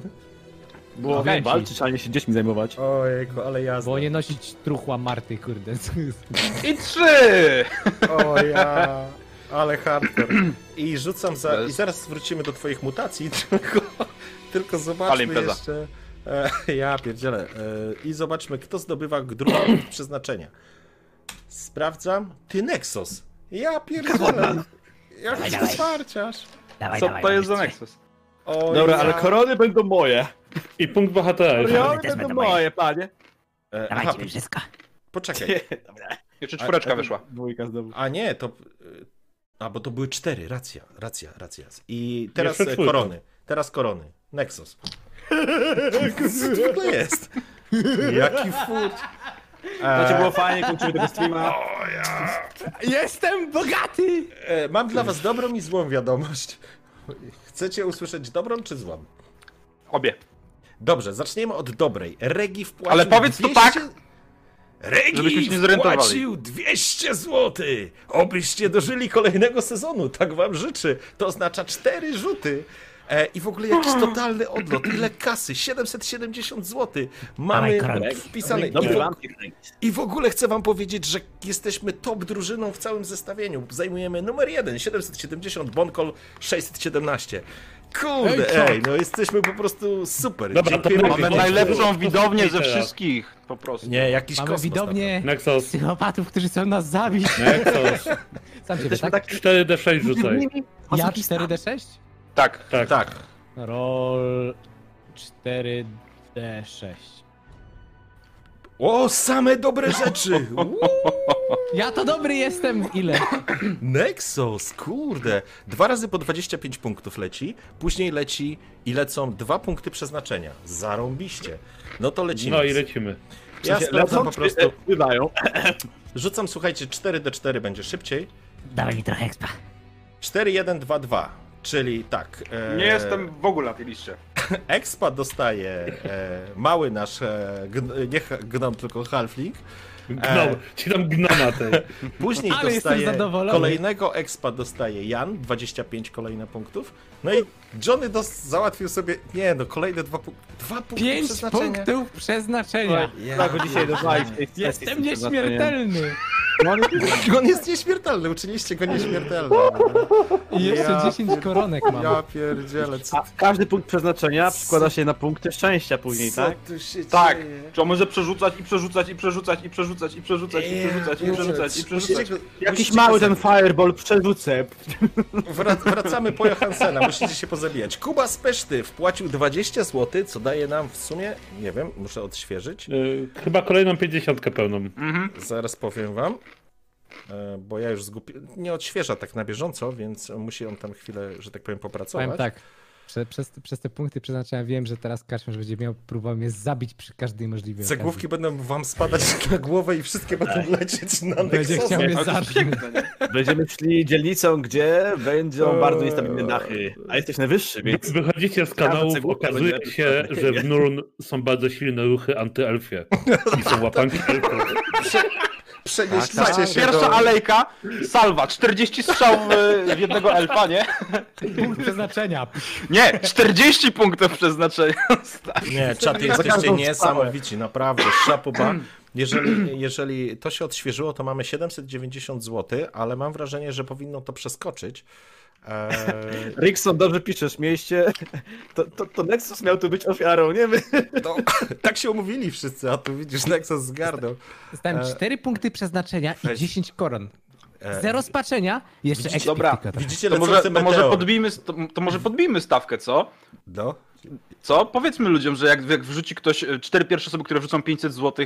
Speaker 3: Było
Speaker 2: Okej.
Speaker 3: walczyć, a nie się dziećmi zajmować.
Speaker 1: Ojejku, ale jazda.
Speaker 2: Bo nie nosić truchła Marty, kurde. co jest-
Speaker 4: I trzy!
Speaker 1: O ja, ale hardcore. I rzucam za... I zaraz wrócimy do twoich mutacji, tylko, tylko
Speaker 4: Ale
Speaker 1: zobaczmy
Speaker 4: impreza.
Speaker 1: jeszcze... E, ja pierdzielę. E, I zobaczmy, kto zdobywa drugą punkt przeznaczenia. Sprawdzam. Ty Nexus. Ja pierdzielę. Jak to wsparciasz?
Speaker 4: Co to jest za Nexus?
Speaker 1: O
Speaker 3: Dobra,
Speaker 1: ja.
Speaker 3: ale korony będą moje.
Speaker 5: I punkt bohatera. jeszcze.
Speaker 3: Korony
Speaker 7: też
Speaker 3: będą
Speaker 7: będą
Speaker 3: moje, panie.
Speaker 1: E, aha,
Speaker 7: Dawajcie mi wszystko.
Speaker 1: poczekaj.
Speaker 4: Jeszcze czwóreczka
Speaker 1: A- a-
Speaker 4: wyszła.
Speaker 3: Dwójka znowu.
Speaker 1: A nie, to... y, A, bo to były cztery. Racja, racja, racja. I teraz
Speaker 5: Jeszcze
Speaker 1: e,
Speaker 5: czwórka.
Speaker 1: korony. Teraz korony. Nexus. Co to w ogóle jest? Jaki fut. Eee.
Speaker 3: Znaczy było fajnie, kończymy tego streama.
Speaker 2: Jestem bogaty!
Speaker 1: E, mam dla was dobrą i złą wiadomość. Chcecie usłyszeć dobrą czy złą?
Speaker 4: Obie.
Speaker 1: Dobrze, zaczniemy od dobrej. Regi wpłacił
Speaker 4: Ale powiedz to
Speaker 1: 200...
Speaker 4: tak, żebyśmy
Speaker 8: Regi
Speaker 4: się nie zorientowali.
Speaker 8: wpłacił 200 zł!
Speaker 1: Obyście dożyli kolejnego sezonu, tak wam życzę. To oznacza cztery rzuty. E, I w ogóle jakiś totalny odlot. Ile kasy? 770 zł. Mamy
Speaker 7: Dawaj, Kranek.
Speaker 1: wpisane. I
Speaker 3: Dobry
Speaker 1: w,
Speaker 3: wam.
Speaker 1: I w ogóle chcę wam powiedzieć, że jesteśmy top drużyną w całym zestawieniu. Zajmujemy numer 1, 770, Bonkol 617. Kurde, ej, no jesteśmy po prostu super.
Speaker 5: Dobra, to
Speaker 1: Dziękujemy
Speaker 5: mamy
Speaker 1: wam.
Speaker 4: Najlepszą widownię ze
Speaker 5: Twittera.
Speaker 4: wszystkich, po prostu.
Speaker 1: Nie, jakiś
Speaker 2: Mamy
Speaker 1: kosmos. naprawdę.
Speaker 2: widownię
Speaker 5: Nexus,
Speaker 2: psychopatów, którzy chcą nas zabić.
Speaker 5: Nexus.
Speaker 2: Sam ciebie, tak?
Speaker 5: 4D6 rzucaj.
Speaker 2: Ja 4D6?
Speaker 4: Tak.
Speaker 5: Tak.
Speaker 1: Tak,
Speaker 2: Roll 4D6.
Speaker 1: O, same dobre rzeczy! Uuu,
Speaker 2: Ja to dobry jestem! Ile?
Speaker 1: Nexus, kurde! Dwa razy po 25 punktów leci, później leci i lecą dwa punkty przeznaczenia. Zarąbiście. No to lecimy.
Speaker 5: No i lecimy.
Speaker 1: Ja sprawdzam po prostu.
Speaker 3: Wydają.
Speaker 1: Rzucam, słuchajcie, 4d4 będzie szybciej.
Speaker 7: Dawaj mi trochę expa.
Speaker 1: 4122, czyli tak. e,
Speaker 4: Nie jestem w ogóle na tej liście.
Speaker 1: Expa dostaje e, mały nasz, e, gn, nie ha- gnom, tylko halfling.
Speaker 5: Gnom,
Speaker 1: E.
Speaker 5: ci tam gnoma tej.
Speaker 4: E.
Speaker 1: Później
Speaker 2: Ale jestem
Speaker 1: dostaje
Speaker 2: zadowolony.
Speaker 1: kolejnego expa dostaje Jan, 25 kolejne punktów. No i Johnny dos- załatwił sobie, nie no, kolejne dwa, pu- dwa punkty
Speaker 2: 5
Speaker 1: przeznaczenia.
Speaker 2: punktów przeznaczenia!
Speaker 6: tak,
Speaker 1: Ja,
Speaker 3: Dzisiaj dawaj.
Speaker 2: Jestem nieśmiertelny!
Speaker 1: on jest nieśmiertelny, uczyliście go nieśmiertelnym.
Speaker 2: I jeszcze
Speaker 1: Ja
Speaker 2: 10 koronek mam.
Speaker 1: Ja pierdzielę, co,
Speaker 6: A każdy punkt przeznaczenia przekłada się na punkty szczęścia później,
Speaker 1: co
Speaker 6: tak?
Speaker 1: tu się
Speaker 4: Tak.
Speaker 1: dzieje?
Speaker 4: Czy on może przerzucać i przerzucać i przerzucać i przerzucać i przerzucać i
Speaker 1: Eee,
Speaker 4: przerzucać i przerzucać i przerzucać.
Speaker 1: Musicie go-
Speaker 6: Jakiś
Speaker 1: musicie
Speaker 6: mały
Speaker 1: go
Speaker 6: ten fireball przerzucę.
Speaker 1: Wra- wracamy po Johansena, musicie się pozabijać. Kuba z Peszty wpłacił 20 zł, co daje nam w sumie, nie wiem, muszę odświeżyć,
Speaker 5: Y, Chyba kolejną 50 pełną.
Speaker 4: Mm.
Speaker 1: zaraz powiem wam, e, bo ja już zgubiłem, nie odświeża tak na bieżąco, więc musi on tam chwilę, że tak powiem,
Speaker 2: Powiem
Speaker 1: popracować.
Speaker 2: tak. Prze, przez, te- przez te punkty przeznaczenia wiem, że teraz Kaczmarz będzie miał próbował mnie zabić przy każdej możliwej okazji.
Speaker 1: Cegłówki będą wam spadać na głowę i wszystkie będą lecieć na
Speaker 2: Będzie
Speaker 1: Nexusa.
Speaker 2: chciał Tak, mnie
Speaker 4: Ale to jest
Speaker 2: zabić.
Speaker 4: piękne, nie?
Speaker 6: Będziemy szli dzielnicą, gdzie będą bardzo niestabilne dachy. A jesteś najwyższy, więc...
Speaker 5: Wychodzicie z
Speaker 6: Każda
Speaker 5: kanałów,
Speaker 6: cegłówka
Speaker 5: okazuje
Speaker 6: będzie
Speaker 5: się,
Speaker 6: lepiej.
Speaker 5: że w Nurn są bardzo silne ruchy antyelfie. I są łapanki elfów.
Speaker 1: Przenieśliście
Speaker 4: tak.
Speaker 1: się
Speaker 4: Pierwsza
Speaker 1: do...
Speaker 4: alejka, salwa, 40 strzałów e, w jednego elfa, nie?
Speaker 2: Punkt przeznaczenia.
Speaker 4: Nie, 40 punktów przeznaczenia.
Speaker 1: Nie, czat, jesteście niesamowici, naprawdę, szapuba. Jeżeli, jeżeli to się odświeżyło, to mamy 790 zł, ale mam wrażenie, że powinno to przeskoczyć. Eee,
Speaker 6: Rickson, dobrze piszesz, mieście. To, to, to Nexus miał tu być ofiarą, nie my.
Speaker 1: no, tak się umówili wszyscy, a tu widzisz, Nexus zgarnął.
Speaker 2: Dostałem
Speaker 1: E,
Speaker 2: 4 punkty przeznaczenia i 10 koron.
Speaker 1: E,
Speaker 2: Zero spaczenia, jeszcze ekspik
Speaker 4: Dobra.
Speaker 2: tylko trochę.
Speaker 1: Widzicie,
Speaker 4: To może,
Speaker 1: lecący
Speaker 4: to, może
Speaker 1: meteor.
Speaker 4: podbijmy, to, to może podbijmy stawkę, co?
Speaker 1: No.
Speaker 4: Co? Powiedzmy ludziom, że jak, jak wrzuci ktoś e, cztery pierwsze osoby, które wrzucą 500 zł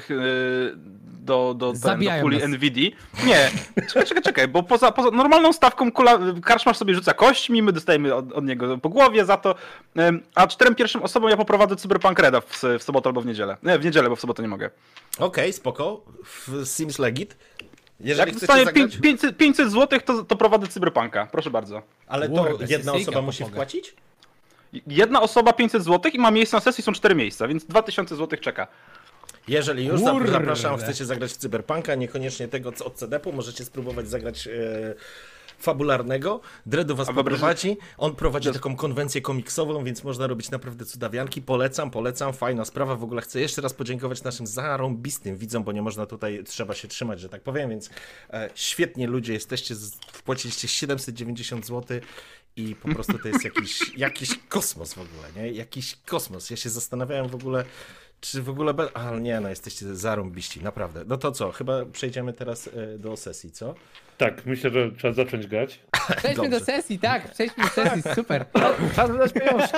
Speaker 4: do, do, ten, do
Speaker 2: Zabijają
Speaker 4: puli
Speaker 2: nas.
Speaker 4: NVD. Nie, czekaj, czekaj, czekaj, bo poza, poza normalną stawką kula, karczmasz sobie rzuca kośćmi, my dostajemy od, od niego po głowie za to, em, a czterem pierwszym osobom ja poprowadzę Cyberpunk Reda w, s- w sobotę albo w niedzielę. Nie, w niedzielę, bo w sobotę nie mogę.
Speaker 1: Okej, spoko. W Sims Legit. Jeżeli
Speaker 4: Jak
Speaker 1: chcecie
Speaker 4: dostanie
Speaker 1: zagrać,
Speaker 4: 500, 500 zł, to, to prowadzę Cyberpunka, proszę bardzo.
Speaker 1: ale to
Speaker 2: Kurde,
Speaker 1: jedna
Speaker 2: sesyjka
Speaker 1: osoba musi
Speaker 2: pomaga.
Speaker 1: wpłacić?
Speaker 4: Jedna osoba 500 zł i ma miejsce na sesji, są cztery miejsca, więc 2000 zł czeka.
Speaker 1: Jeżeli już,
Speaker 2: Kurde.
Speaker 1: zap- zapraszam, chcecie zagrać w Cyberpunka, niekoniecznie tego co od CDP-u, możecie spróbować zagrać e, fabularnego. Dredu was
Speaker 4: A wyobraź-
Speaker 1: prowadzi, on prowadzi taką konwencję komiksową, więc można robić naprawdę cudawianki. Polecam, polecam, fajna sprawa. W ogóle chcę jeszcze raz podziękować naszym zarąbistym widzom, bo nie można tutaj, trzeba się trzymać, że tak powiem, więc e, świetnie ludzie jesteście, z- wpłaciliście 790 zł i po prostu to jest jakiś, jakiś kosmos w ogóle, nie? Jakiś kosmos. Ja się zastanawiałem w ogóle, czy w ogóle... Be... Ale nie, no jesteście zarąbiści, naprawdę. No to co, chyba przejdziemy teraz e, do sesji, co?
Speaker 5: Tak, myślę, że trzeba zacząć grać.
Speaker 2: Przejdźmy do
Speaker 1: Dobrze.
Speaker 2: sesji, tak, przejdźmy do sesji, super.
Speaker 6: Czas wydać pieniążki.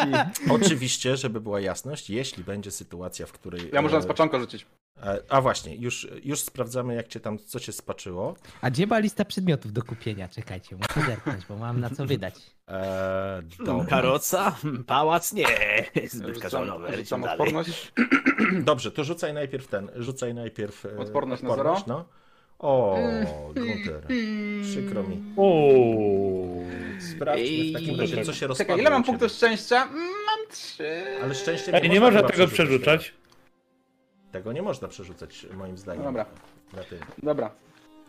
Speaker 1: Oczywiście, żeby była jasność, jeśli będzie sytuacja, w której...
Speaker 4: Ja można
Speaker 1: e,
Speaker 4: z paczanką rzucić.
Speaker 1: e, A właśnie, już, już sprawdzamy, jak cię tam, co cię spaczyło.
Speaker 2: A gdzie była lista przedmiotów do kupienia? Czekajcie, muszę zerknąć, bo mam na co wydać.
Speaker 1: E, dobra.
Speaker 6: Karoca? Hmm, Pałac? Nie. Zbyt
Speaker 4: Rzucam,
Speaker 6: kazanowe. Lecimy
Speaker 4: rzucam
Speaker 6: dalej.
Speaker 4: odporność.
Speaker 1: Dobrze, to rzucaj najpierw ten, rzucaj najpierw... e,
Speaker 4: Odporność na
Speaker 1: No. O, Gunter, przykro mi.
Speaker 5: Ooo.
Speaker 1: Sprawdźmy Tak, w takim razie, co się rozpadło.
Speaker 4: Czekaj, ile mam
Speaker 1: u ciebie.
Speaker 4: punktów szczęścia? Mm, Mam trzy.
Speaker 1: Ale szczęście
Speaker 5: Ej, nie można
Speaker 1: chyba
Speaker 5: tego
Speaker 1: przerzucać.
Speaker 5: przerzucać.
Speaker 1: Tego nie można przerzucać, moim zdaniem.
Speaker 4: No Dobra.
Speaker 1: Na tym.
Speaker 4: Dobra.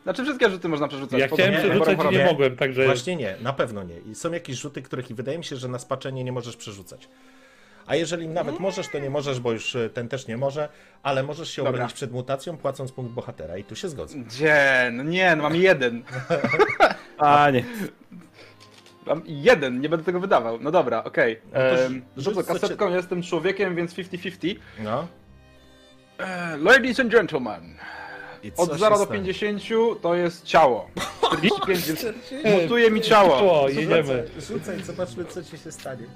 Speaker 4: Znaczy wszystkie rzuty można przerzucać.
Speaker 5: Ja
Speaker 4: Znaczy, podobnie
Speaker 5: chciałem
Speaker 4: jak
Speaker 5: przerzucać
Speaker 4: chorobę.
Speaker 5: i nie
Speaker 1: chorobie.
Speaker 5: mogłem, także...
Speaker 1: Właśnie nie, na pewno nie. I są jakieś rzuty, których wydaje mi się, że na spaczenie nie możesz przerzucać. A jeżeli
Speaker 4: Mm.
Speaker 1: nawet możesz, to nie możesz, bo już e, ten też nie może, ale możesz się
Speaker 4: Dobra.
Speaker 1: obronić przed mutacją, płacąc punkt bohatera i tu się zgodzę.
Speaker 4: Gdzie? No nie, no mam jeden.
Speaker 6: A nie.
Speaker 4: Mam jeden, nie będę tego wydawał. No dobra, okej.
Speaker 1: No to
Speaker 4: Em,
Speaker 1: rzuć,
Speaker 4: Rzucę
Speaker 1: co cię-
Speaker 4: kasetką, jestem człowiekiem, więc 50-50.
Speaker 1: No.
Speaker 4: E, Ladies and gentlemen,
Speaker 1: I co
Speaker 4: od
Speaker 1: się
Speaker 4: 0 do
Speaker 1: stanie?
Speaker 4: 50 to jest ciało. 45 jest... Mutuje mi ciało.
Speaker 5: O, jedziemy.
Speaker 1: Rzucaj, zobaczmy, co ci się stanie.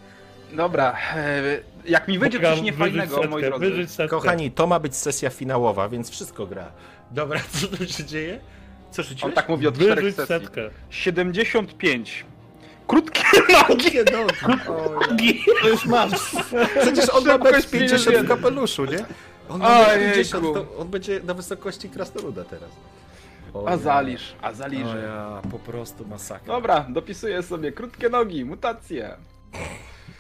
Speaker 4: Dobra, e, jak mi wyjdzie
Speaker 5: Bogdan,
Speaker 4: coś
Speaker 5: wyrzuć
Speaker 4: niefajnego, moi
Speaker 5: setkę,
Speaker 4: drodzy.
Speaker 5: wyrzuć setkę.
Speaker 1: Kochani, to ma być sesja finałowa, więc wszystko gra. Dobra, co tu się dzieje? Co
Speaker 4: On
Speaker 1: rzuciłeś?
Speaker 4: tak mówi od czterech
Speaker 5: Wyrzuć
Speaker 4: sesji.
Speaker 5: setkę.
Speaker 4: 75. Krótkie nogi!
Speaker 1: Nie, no, o, ja.
Speaker 6: To już masz.
Speaker 1: Przecież on ma
Speaker 4: Szybkość
Speaker 1: być 50 w
Speaker 4: jeden.
Speaker 1: kapeluszu, nie? On ma
Speaker 4: Ojejku.
Speaker 1: 50, to on będzie na wysokości krasnoluda teraz. O ja.
Speaker 4: Azalisz,
Speaker 1: O
Speaker 4: azaliże.
Speaker 1: ja, po prostu masakra.
Speaker 4: Dobra, dopisuję sobie krótkie nogi, mutacje.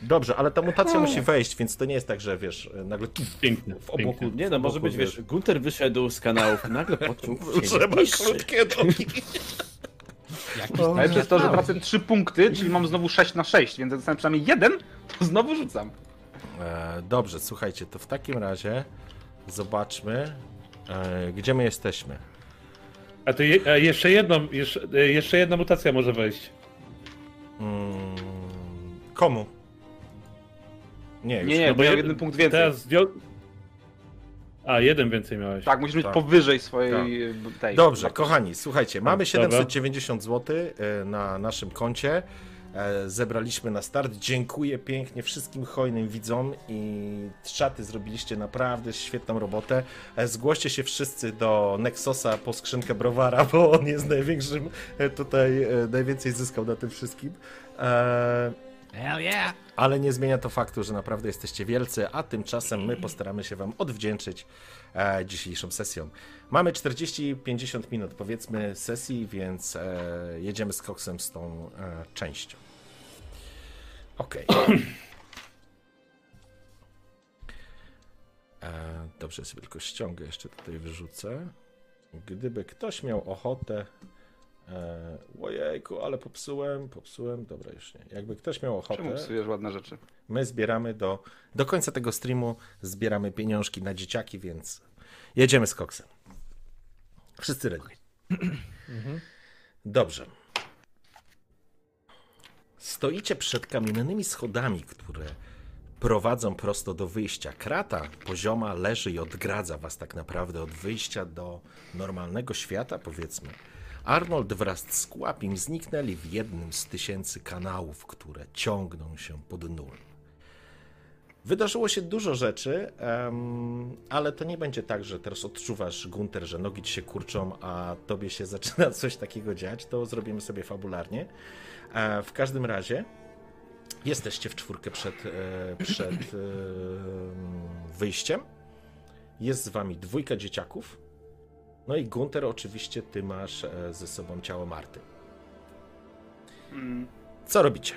Speaker 1: Dobrze, ale ta mutacja musi wejść, więc to nie jest tak, że wiesz, nagle tu
Speaker 5: Piękne,
Speaker 1: w
Speaker 5: piękne.
Speaker 1: obłoku.
Speaker 6: Nie no,
Speaker 1: w
Speaker 6: może
Speaker 1: obłoku,
Speaker 6: być, wiesz, Gunter wyszedł z kanałów, nagle poczuł
Speaker 1: Że ma krótkie nogi.
Speaker 2: Jakiś
Speaker 4: Ale przez to, że wracam 3 punkty, czyli mam znowu 6 na 6, więc jak dostałem przynajmniej jeden, to znowu rzucam.
Speaker 1: E, dobrze, słuchajcie, to w takim razie zobaczmy, e, gdzie my jesteśmy.
Speaker 5: A to je, a jeszcze jedną, jeszcze, e, jeszcze jedna mutacja może wejść.
Speaker 1: Mm, komu? Nie, już
Speaker 4: Nie, nie,
Speaker 5: no
Speaker 4: bo
Speaker 5: bo
Speaker 4: ja
Speaker 5: ja-
Speaker 4: jeden punkt więcej.
Speaker 5: Teraz zdjął... A, jeden więcej miałeś.
Speaker 4: Tak, musisz mieć
Speaker 1: Tak.
Speaker 4: powyżej swojej b- tej.
Speaker 1: Dobrze, kochani, słuchajcie, mamy
Speaker 5: Dobra.
Speaker 1: 790 zł e, na naszym koncie. E, Zebraliśmy na start. Dziękuję pięknie wszystkim hojnym widzom i szaty zrobiliście naprawdę świetną robotę. E, Zgłoście się wszyscy do Nexosa po skrzynkę browara, bo on jest największym e, tutaj, e, najwięcej zyskał na tym wszystkim. E,
Speaker 7: Hell yeah!
Speaker 1: ale nie zmienia to faktu, że naprawdę jesteście wielcy, a tymczasem my postaramy się Wam odwdzięczyć e, dzisiejszą sesją. Mamy 40-50 minut powiedzmy sesji, więc e, jedziemy z koksem z tą e, częścią. Okej. E, Dobrze, sobie tylko ściągę, jeszcze tutaj wyrzucę. Gdyby ktoś miał ochotę E, ojejku, ale popsułem, popsułem, dobra już nie. Jakby ktoś miał
Speaker 4: Czemu
Speaker 1: ochotę,
Speaker 4: psujesz ładne rzeczy?
Speaker 1: my zbieramy do, do końca tego streamu, zbieramy pieniążki na dzieciaki, więc jedziemy z koksem. Wszyscy ready. Dobrze. Stoicie przed kamiennymi schodami, które prowadzą prosto do wyjścia. Krata pozioma leży i odgradza was tak naprawdę od wyjścia do normalnego świata, powiedzmy. Arnold wraz z Kłapim zniknęli w jednym z tysięcy kanałów, które ciągną się pod nul. Wydarzyło się dużo rzeczy, em, ale to nie będzie tak, że teraz odczuwasz, Gunter, że nogi ci się kurczą, a tobie się zaczyna coś takiego dziać. To zrobimy sobie fabularnie. E, w każdym razie jesteście w czwórkę przed, e, przed e, wyjściem. Jest z wami dwójka dzieciaków. No i Gunter, oczywiście, ty masz e, ze sobą ciało Marty.
Speaker 4: Mm,
Speaker 1: Co robicie?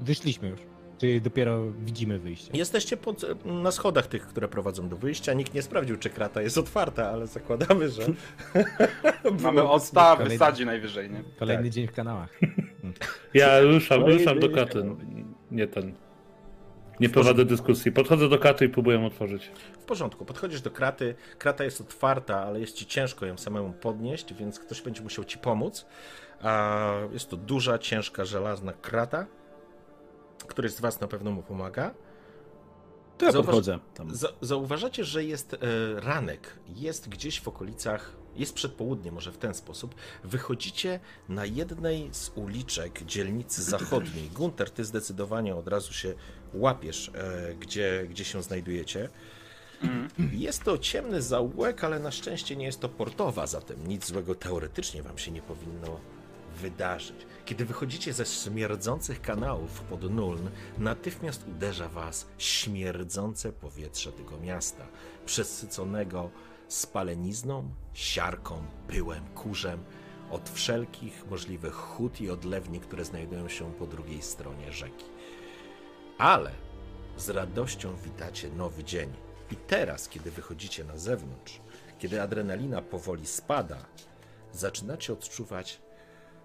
Speaker 2: Wyszliśmy już.
Speaker 3: Czyli dopiero widzimy wyjście.
Speaker 1: Jesteście pod, na schodach tych, które prowadzą do wyjścia. Nikt nie sprawdził, czy krata jest otwarta, ale zakładamy, że.
Speaker 4: Mamy odstaw,
Speaker 3: kolejny.
Speaker 4: wysadzi najwyżej, nie?
Speaker 3: Kolejny dzień w kanałach.
Speaker 5: Ja ruszam,
Speaker 6: No i-
Speaker 5: ruszam do katy. Nie ten. Nie prowadzę dyskusji. Podchodzę do katy i próbuję ją otworzyć.
Speaker 1: W porządku, podchodzisz do kraty. Krata jest otwarta, ale jest ci ciężko ją samemu podnieść, więc ktoś będzie musiał ci pomóc. A jest to duża, ciężka, żelazna krata. Któryś z was na pewno mu pomaga.
Speaker 6: To ja
Speaker 1: Zauważ-
Speaker 6: podchodzę. Tam.
Speaker 1: Za- zauważacie, że jest e, ranek. Jest gdzieś w okolicach, jest przedpołudnie, może w ten sposób. Wychodzicie na jednej z uliczek dzielnicy zachodniej. Gunter, ty zdecydowanie od razu się łapiesz, e, gdzie, gdzie się znajdujecie. Jest to ciemny zaułek, ale na szczęście nie jest to portowa, zatem nic złego teoretycznie wam się nie powinno wydarzyć. Kiedy wychodzicie ze śmierdzących kanałów pod Nuln, natychmiast uderza was śmierdzące powietrze tego miasta, przesyconego spalenizną, siarką, pyłem, kurzem od wszelkich możliwych hut i odlewni, które znajdują się po drugiej stronie rzeki. Ale z radością witacie nowy dzień. I teraz, kiedy wychodzicie na zewnątrz, kiedy adrenalina powoli spada, zaczynacie odczuwać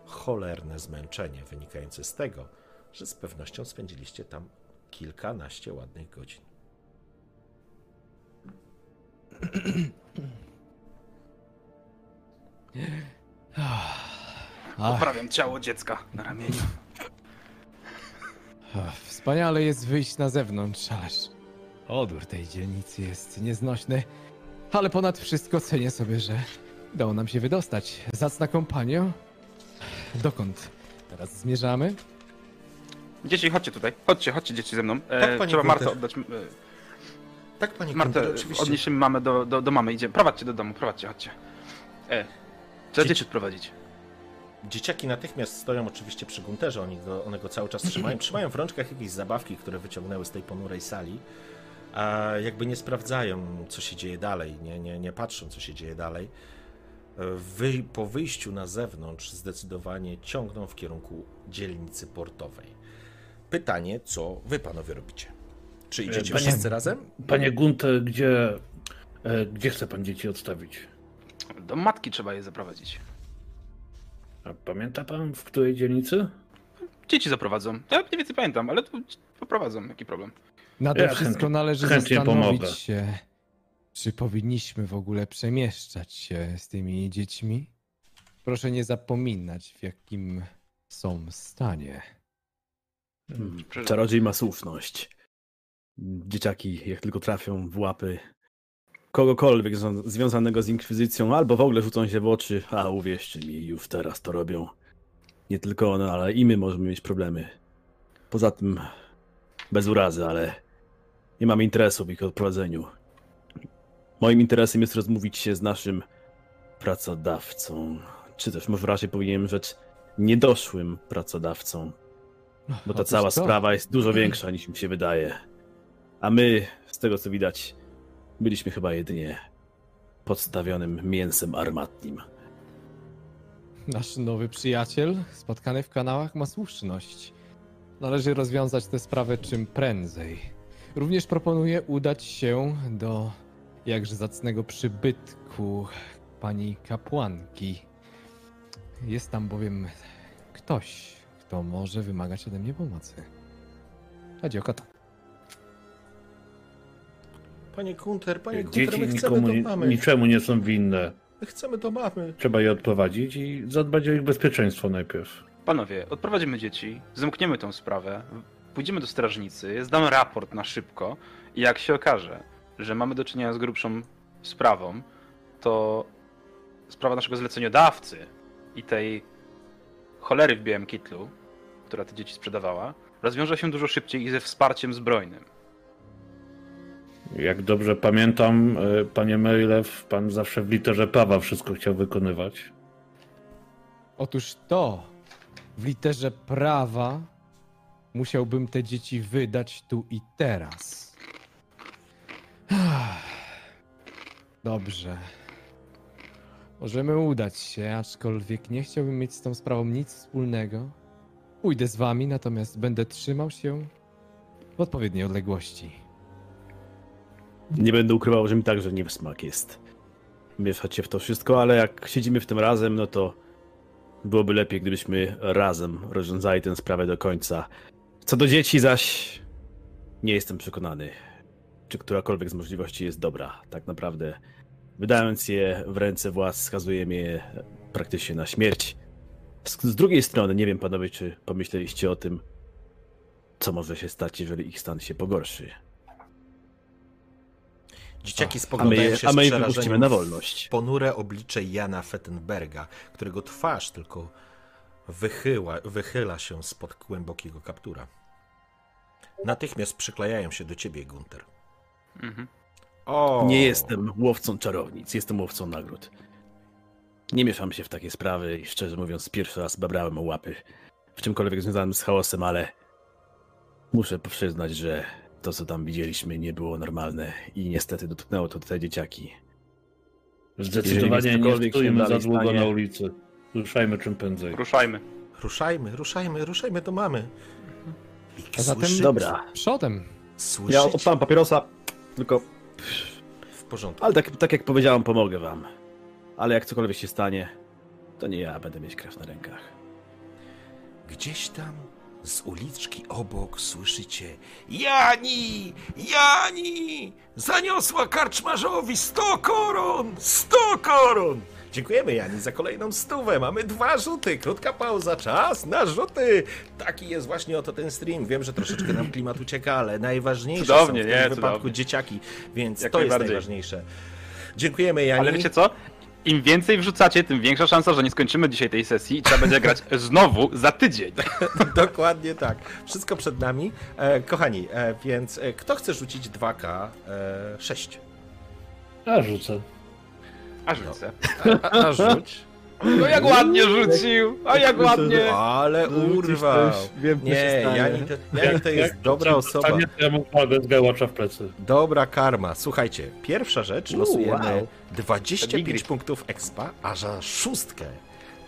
Speaker 1: cholerne zmęczenie wynikające z tego, że z pewnością spędziliście tam kilkanaście ładnych godzin.
Speaker 4: Poprawiam ciało dziecka na ramieniu.
Speaker 3: Ach, Wspaniale jest wyjść na zewnątrz, ależ odór tej dzielnicy jest nieznośny. Ale ponad wszystko cenię sobie, że udało nam się wydostać. Zacna kompanio. Dokąd teraz zmierzamy?
Speaker 4: Dzieci, chodźcie tutaj. Chodźcie, chodźcie dzieci ze mną. E,
Speaker 1: Tak, panie
Speaker 4: trzeba Martę
Speaker 1: Wójtek.
Speaker 4: oddać. E,
Speaker 1: Tak, panie
Speaker 4: Martę,
Speaker 1: Kunter, oczywiście.
Speaker 4: odniesiemy mamę do, do, do mamy. Idziemy. Prowadźcie do domu, prowadźcie, chodźcie. E, trzeba
Speaker 1: Dzieci-
Speaker 4: dzieci odprowadzić.
Speaker 1: Dzieciaki natychmiast stoją oczywiście przy Gunterze, oni go, one go cały czas trzymają. Trzymają w rączkach jakieś zabawki, które wyciągnęły z tej ponurej sali. A jakby nie sprawdzają, co się dzieje dalej, nie, nie, nie patrzą, co się dzieje dalej. E, Wy, po wyjściu na zewnątrz zdecydowanie ciągną w kierunku dzielnicy portowej. Pytanie, co wy panowie robicie? Czy idziecie
Speaker 5: panie-
Speaker 1: wszyscy razem?
Speaker 5: Panie Gunte, gdzie. e, Gdzie chce pan dzieci odstawić?
Speaker 4: Do matki trzeba je zaprowadzić.
Speaker 5: A pamięta pan, w której dzielnicy?
Speaker 4: Dzieci zaprowadzą. Ja mniej więcej pamiętam, ale to poprowadzą. Jaki problem?
Speaker 3: Nade
Speaker 5: Ja
Speaker 3: wszystko
Speaker 5: chętnie-
Speaker 3: należy
Speaker 5: chętnie
Speaker 3: zastanowić
Speaker 5: pomogę.
Speaker 3: się, czy powinniśmy w ogóle przemieszczać się z tymi dziećmi. Proszę nie zapominać, w jakim są stanie.
Speaker 6: Czarodziej ma słuszność. Dzieciaki, jak tylko trafią w łapy kogokolwiek zą- związanego z inkwizycją, albo w ogóle rzucą się w oczy, a uwierzcie mi, już teraz to robią. Nie tylko one, ale i my możemy mieć problemy. Poza tym, bez urazy, ale nie mamy interesu w ich odprowadzeniu. Moim interesem jest rozmówić się z naszym pracodawcą, czy też może raczej powinienem rzec niedoszłym pracodawcą. Bo ta
Speaker 3: Otóż
Speaker 6: cała
Speaker 3: to.
Speaker 6: sprawa jest dużo większa niż mi się wydaje. A my, z tego co widać, byliśmy chyba jedynie podstawionym mięsem armatnim.
Speaker 3: Nasz nowy przyjaciel, spotkany w kanałach, ma słuszność. Należy rozwiązać tę sprawę czym prędzej. Również proponuję udać się do jakże zacnego przybytku pani kapłanki. Jest tam bowiem ktoś, kto może wymagać ode mnie pomocy. Chodzi o kota.
Speaker 1: Panie Kunter, panie Kunter,
Speaker 5: Dzieci
Speaker 1: my chcemy
Speaker 5: nikomu,
Speaker 1: do
Speaker 5: ni-
Speaker 1: mamy.
Speaker 5: niczemu nie są winne.
Speaker 1: My chcemy do mamy.
Speaker 5: Trzeba je odprowadzić i zadbać o ich bezpieczeństwo najpierw.
Speaker 4: Panowie, odprowadzimy dzieci, zamkniemy tą sprawę, pójdziemy do strażnicy, zdam raport na szybko i jak się okaże, że mamy do czynienia z grubszą sprawą, to sprawa naszego zleceniodawcy i tej cholery w białym kitlu, która te dzieci sprzedawała, rozwiąże się dużo szybciej i ze wsparciem zbrojnym.
Speaker 5: Jak dobrze pamiętam, e, panie Merilew, pan zawsze w literze prawa wszystko chciał wykonywać.
Speaker 3: Otóż to, w literze prawa, musiałbym te dzieci wydać tu i teraz. Ach, Dobrze. Możemy udać się, aczkolwiek nie chciałbym mieć z tą sprawą nic wspólnego. Pójdę z wami, natomiast będę trzymał się
Speaker 2: w odpowiedniej odległości.
Speaker 6: Nie będę ukrywał, że mi także nie w smak jest mieszać się w to wszystko, ale jak siedzimy w tym razem, no to byłoby lepiej, gdybyśmy razem rozwiązali tę sprawę do końca. Co do dzieci zaś, nie jestem przekonany, czy którakolwiek z możliwości jest dobra. Tak naprawdę, wydając je w ręce władz, skazujemy je praktycznie na śmierć. Z, z drugiej strony, nie wiem panowie, czy pomyśleliście o tym, co może się stać, jeżeli ich stan się pogorszy.
Speaker 1: Dzieciaki
Speaker 6: A my,
Speaker 1: spoglądają
Speaker 6: je,
Speaker 1: się
Speaker 6: a
Speaker 1: z
Speaker 6: my je wypuścimy
Speaker 1: przerażeniem
Speaker 6: na
Speaker 1: w
Speaker 6: wolność.
Speaker 1: ponure oblicze Jana Fettenberga, którego twarz tylko wychyła, wychyla się spod głębokiego kaptura. Natychmiast przyklejają się do ciebie, Gunter.
Speaker 4: Mhm.
Speaker 1: O,
Speaker 6: Nie jestem łowcą czarownic, jestem łowcą nagród. Nie mieszam się w takie sprawy i szczerze mówiąc, pierwszy raz babrałem o łapy w czymkolwiek związanym z chaosem, ale muszę przyznać, że to, co tam widzieliśmy, nie było normalne i niestety dotknęło to te dzieciaki.
Speaker 5: Zdecydowanie
Speaker 6: Jeżeli
Speaker 5: nie
Speaker 6: cokolwiek się
Speaker 5: stójmy za
Speaker 6: dalej
Speaker 5: długo
Speaker 6: stanie-
Speaker 5: na ulicy. Ruszajmy czym prędzej.
Speaker 4: Ruszajmy.
Speaker 1: Ruszajmy, ruszajmy, ruszajmy do mamy. I
Speaker 2: A zatem-
Speaker 1: słyszy-
Speaker 6: Dobra,
Speaker 2: Przodem.
Speaker 6: ja
Speaker 1: Słyszycie?
Speaker 6: odpalam papierosa, tylko...
Speaker 1: W porządku.
Speaker 6: Ale tak, tak jak powiedziałem, pomogę wam. Ale jak cokolwiek się stanie, to nie ja będę mieć krew na rękach.
Speaker 1: Gdzieś tam z uliczki obok słyszycie Jani! Jani! Zaniosła karczmarzowi 100 koron! 100 koron! Dziękujemy Jani za kolejną stówę. Mamy dwa rzuty. Krótka pauza, czas na rzuty. Taki jest właśnie oto ten stream. Wiem, że troszeczkę nam klimat ucieka, ale najważniejsze
Speaker 4: Cudownie,
Speaker 1: są w
Speaker 4: nie?
Speaker 1: tym wypadku
Speaker 4: Cudownie.
Speaker 1: dzieciaki, więc
Speaker 4: Jak
Speaker 1: to jest
Speaker 4: najbardziej.
Speaker 1: najważniejsze. Dziękujemy Jani.
Speaker 4: Ale wiecie co? Im więcej wrzucacie, tym większa szansa, że nie skończymy dzisiaj tej sesji i trzeba będzie grać znowu za tydzień.
Speaker 1: Dokładnie tak. Wszystko przed nami. E, kochani, e, więc e, kto chce rzucić 2K6? E, sześć?
Speaker 5: A rzucę.
Speaker 4: A rzucę.
Speaker 1: a, a rzuć.
Speaker 4: No jak ładnie rzucił! A jak ładnie!
Speaker 1: Ale urwał. Nie, Jani to, Jani to jest dobra
Speaker 5: Ci
Speaker 1: osoba.
Speaker 5: dostanie, to Ja mu kładę zgałacza w plecy.
Speaker 1: Dobra karma. Słuchajcie, pierwsza rzecz, losujemy
Speaker 6: wow.
Speaker 1: 25
Speaker 4: Bigrid.
Speaker 1: punktów expa, a za szóstkę